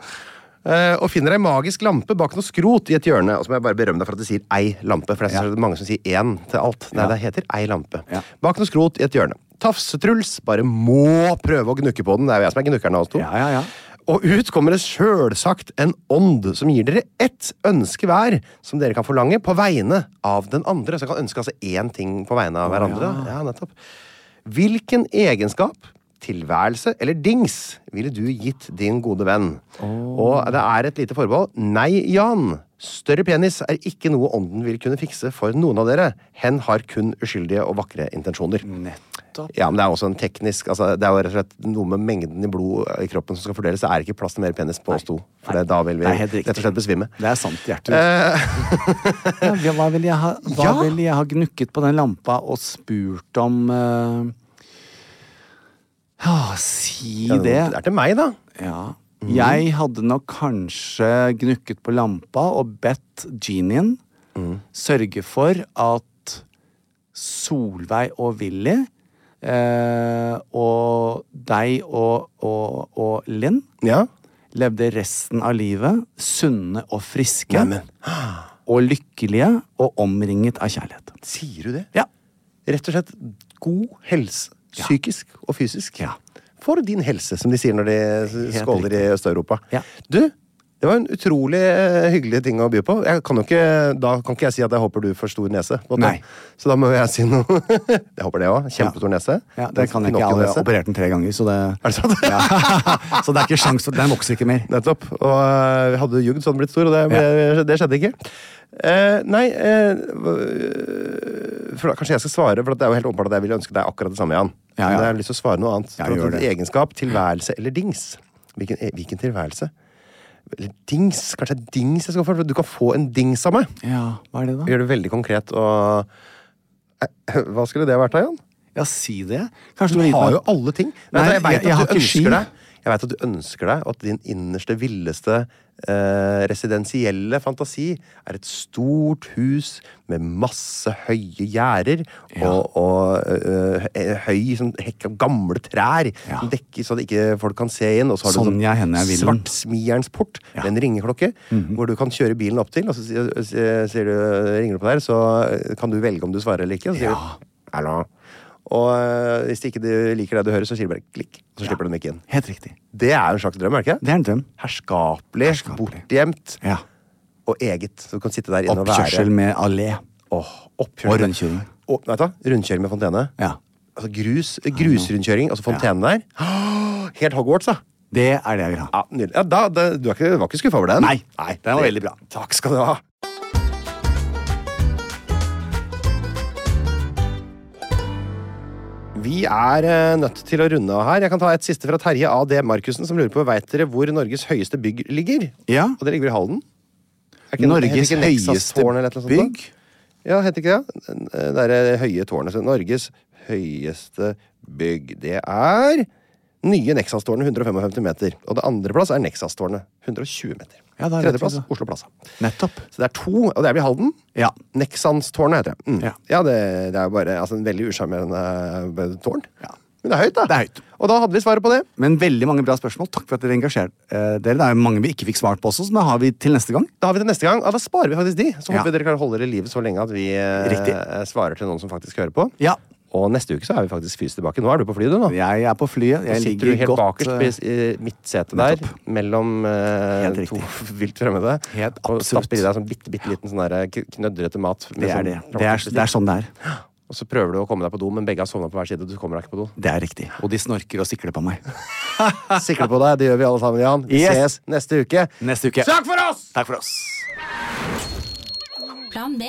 Speaker 4: Eh, og finner ei magisk lampe bak noe skrot i et hjørne. Og så må jeg bare berømme deg for at du sier ei lampe, for jeg synes
Speaker 5: Ja.
Speaker 4: det er mange som sier én til alt. Nei,
Speaker 5: Ja.
Speaker 4: det heter ei lampe.
Speaker 5: Ja.
Speaker 4: Bak noe skrot i et hjørne. Tafse-Truls bare må prøve å gnukke på den. Det er jo jeg som er gnukkeren av oss to.
Speaker 5: Ja, ja, ja.
Speaker 4: Og ut kommer det sjølsagt en ånd som gir dere ett ønske hver, som dere kan forlange på vegne av den andre. Så dere kan ønske altså én ting på vegne av hverandre. Ja, nettopp. Hvilken egenskap, tilværelse eller dings ville du gitt din gode venn? Og det er et lite forbehold. Nei, Jan. Større penis er ikke noe ånden vil kunne fikse for noen av dere. Hen har kun uskyldige og vakre intensjoner.
Speaker 5: Nettopp.
Speaker 4: Ja, men det er også en teknisk altså, Det er jo rett og slett noe med mengden i blod i kroppen som skal fordeles. Det er ikke plass til mer penis på oss to. For det, da vil vi
Speaker 5: Nei, helt riktig.
Speaker 4: rett og slett besvime.
Speaker 5: Det er sant, Gjertrud. ja, hva- hva ville jeg, ha- hva
Speaker 4: Ja.
Speaker 5: ville jeg ha gnukket på den lampa og spurt om eh, Ja, si
Speaker 4: Ja,
Speaker 5: det.
Speaker 4: er til meg, da.
Speaker 5: Ja. Jeg hadde nok kanskje gnukket på lampa og bedt genien Mm. sørge for at Solveig og Willy eh, og deg og, og, og Linn
Speaker 4: Ja.
Speaker 5: levde resten av livet sunne og friske
Speaker 4: Neimen.
Speaker 5: og lykkelige og omringet av kjærlighet.
Speaker 4: Sier du det?
Speaker 5: Ja.
Speaker 4: Rett og slett god helse. Psykisk og fysisk.
Speaker 5: Ja.
Speaker 4: For din helse, som de sier når de
Speaker 5: Helt
Speaker 4: skåler i Øst-Europa.
Speaker 5: Ja.
Speaker 4: Du, det var en utrolig eh, hyggelig ting å by på. Jeg kan jo ikke, da kan ikke jeg si at jeg håper du får stor nese. på en måte.
Speaker 5: Nei.
Speaker 4: Så da må jeg si noe. jeg håper det òg. Kjempestor nese.
Speaker 5: Ja, det kan jeg ikke. Jeg har
Speaker 4: Pinocchio-nese.
Speaker 5: operert den tre ganger, så det,
Speaker 4: Er det sant?
Speaker 5: ja. så det er ikke sjans for Den vokser ikke mer.
Speaker 4: Nettopp. Og øh, hadde du ljugd, så hadde den blitt stor, og det, det, det skjedde ikke. Eh, nei eh, hva- for da, Kanskje jeg skal svare, for det er jo helt åpenbart at jeg vil ønske deg akkurat det samme, Jan.
Speaker 5: Ja, ja.
Speaker 4: Men jeg har lyst til å svare noe annet.
Speaker 5: Ja,
Speaker 4: For at
Speaker 5: gjør
Speaker 4: en
Speaker 5: det.
Speaker 4: Egenskap, tilværelse eller dings Hvilken, eh, hvilken tilværelse? Eller dings. Kanskje det er dings jeg skal få? for Du kan få en dings av meg.
Speaker 5: Ja, hva er det da?
Speaker 4: Gjør det veldig konkret og Eh, Hva skulle det vært da, Jan?
Speaker 5: Ja, si det.
Speaker 4: Du
Speaker 5: Kanskje du har gitt
Speaker 4: har
Speaker 5: meg
Speaker 4: jo alle ting.
Speaker 5: Nei,
Speaker 4: Vet du, jeg
Speaker 5: jeg-
Speaker 4: veit
Speaker 5: jeg har
Speaker 4: at du
Speaker 5: ikke ski.
Speaker 4: ønsker deg Jeg vet at du ønsker deg og at din innerste, villeste eh, residensielle fantasi er et stort hus med masse høye gjerder og, og eh, eh, høy sånn, hekk av gamle trær
Speaker 5: Ja.
Speaker 4: som dekker så det ikke folk kan se inn. Og så har
Speaker 5: Sånn
Speaker 4: du
Speaker 5: jeg hender jeg vil den.
Speaker 4: svartsmierens-port
Speaker 5: Ja. Mhm.
Speaker 4: med en ringeklokke hvor du kan kjøre bilen opp til, og så sier, sier- sier du, ringer du på der, så eh, kan du velge om du svarer eller ikke. Og så sier
Speaker 5: Ja.
Speaker 4: du Hallo. Og øh, hvis ikke du liker det du hører, så sier du bare klikk, og så slipper du den ikke inn.
Speaker 5: Helt riktig.
Speaker 4: Det er jo en slags drøm, er det ikke?
Speaker 5: Det er en drøm.
Speaker 4: Herskapelig,
Speaker 5: Herskapelig.
Speaker 4: bortgjemt
Speaker 5: Ja.
Speaker 4: og eget. Så du kan sitte der inne og være
Speaker 5: Oppkjørsel med allé.
Speaker 4: Åh, oppkjørsel.
Speaker 5: Og rundkjøring.
Speaker 4: Og, vet du hva? Rundkjøring med fontene.
Speaker 5: Ja.
Speaker 4: Altså grus, grusrundkjøring, altså fontenen der. Åh, Helt Hogwarts, da.
Speaker 5: Det er det jeg vil ha.
Speaker 4: Ja, nydelig. Ja, da, da, du er ikke, var ikke skuffa over den?
Speaker 5: Nei, den var veldig bra.
Speaker 4: Takk skal du ha. Vi er eh, nødt til å runde av her. Jeg kan ta et siste fra Terje A.D. Markussen, som lurer på veit dere hvor Norges høyeste bygg ligger.
Speaker 5: Ja.
Speaker 4: Og det ligger vel i Halden? Er ikke- heter
Speaker 5: Norges
Speaker 4: ikke Nexas-tårn eller et eller annet
Speaker 5: høyeste
Speaker 4: sånt da?
Speaker 5: bygg.
Speaker 4: Ja, heter ikke det? Eh, Det er det høye tårnet. Så Norges høyeste bygg. Det er nye Nexas-tårnet, 155 meter. Og det andreplass er Nexas-tårnet, 120 meter.
Speaker 5: Ja, da er det
Speaker 4: Tredjeplass
Speaker 5: rett og
Speaker 4: Oslo
Speaker 5: slett.
Speaker 4: Plaza.
Speaker 5: Nettopp.
Speaker 4: Så det er to, og det er vel i Halden?
Speaker 5: Ja.
Speaker 4: Nexans-tårnet heter det. Mm.
Speaker 5: Ja.
Speaker 4: Ja, det, det er bare altså, en veldig usjarmerende eh, tårn.
Speaker 5: Ja.
Speaker 4: Men det er høyt, da.
Speaker 5: Det er høyt.
Speaker 4: Og da hadde vi svaret på det.
Speaker 5: Men veldig mange bra spørsmål. Takk for at dere engasjerte eh, dere. Det er jo mange vi ikke fikk svart på også, så da har vi til neste gang.
Speaker 4: Da har vi det neste gang. Ja, da sparer vi faktisk de. Så
Speaker 5: Ja.
Speaker 4: håper vi dere klarer å holde dere i live så lenge at vi eh,
Speaker 5: Riktig.
Speaker 4: svarer til noen som faktisk hører på.
Speaker 5: Ja.
Speaker 4: Og neste uke så er vi faktisk fysisk tilbake. Nå er du på flyet, du, nå.
Speaker 5: Jeg er på flyet. Jeg
Speaker 4: Så sitter
Speaker 5: ligger
Speaker 4: du helt
Speaker 5: godt eh,
Speaker 4: bakerst i midtsetet der,
Speaker 5: nettopp.
Speaker 4: mellom eh,
Speaker 5: Helt riktig.
Speaker 4: to vilt fremmede.
Speaker 5: Helt
Speaker 4: og
Speaker 5: absolutt.
Speaker 4: stapper i deg sånn bitte, bitte liten sånn der k- knøddrete mat. med
Speaker 5: Det er
Speaker 4: sånn
Speaker 5: det. Det er, det er sånn det er.
Speaker 4: Og så prøver du å komme deg på do, men begge har sovna på hver side. og Du kommer deg ikke på do.
Speaker 5: Det er riktig. Og de snorker og sikler på meg.
Speaker 4: Sikre på deg. Det gjør vi alle sammen, Jan. Vi
Speaker 5: Yes.
Speaker 4: ses neste uke.
Speaker 5: Neste uke.
Speaker 4: Takk for oss!
Speaker 5: Takk for oss.
Speaker 7: Plan B.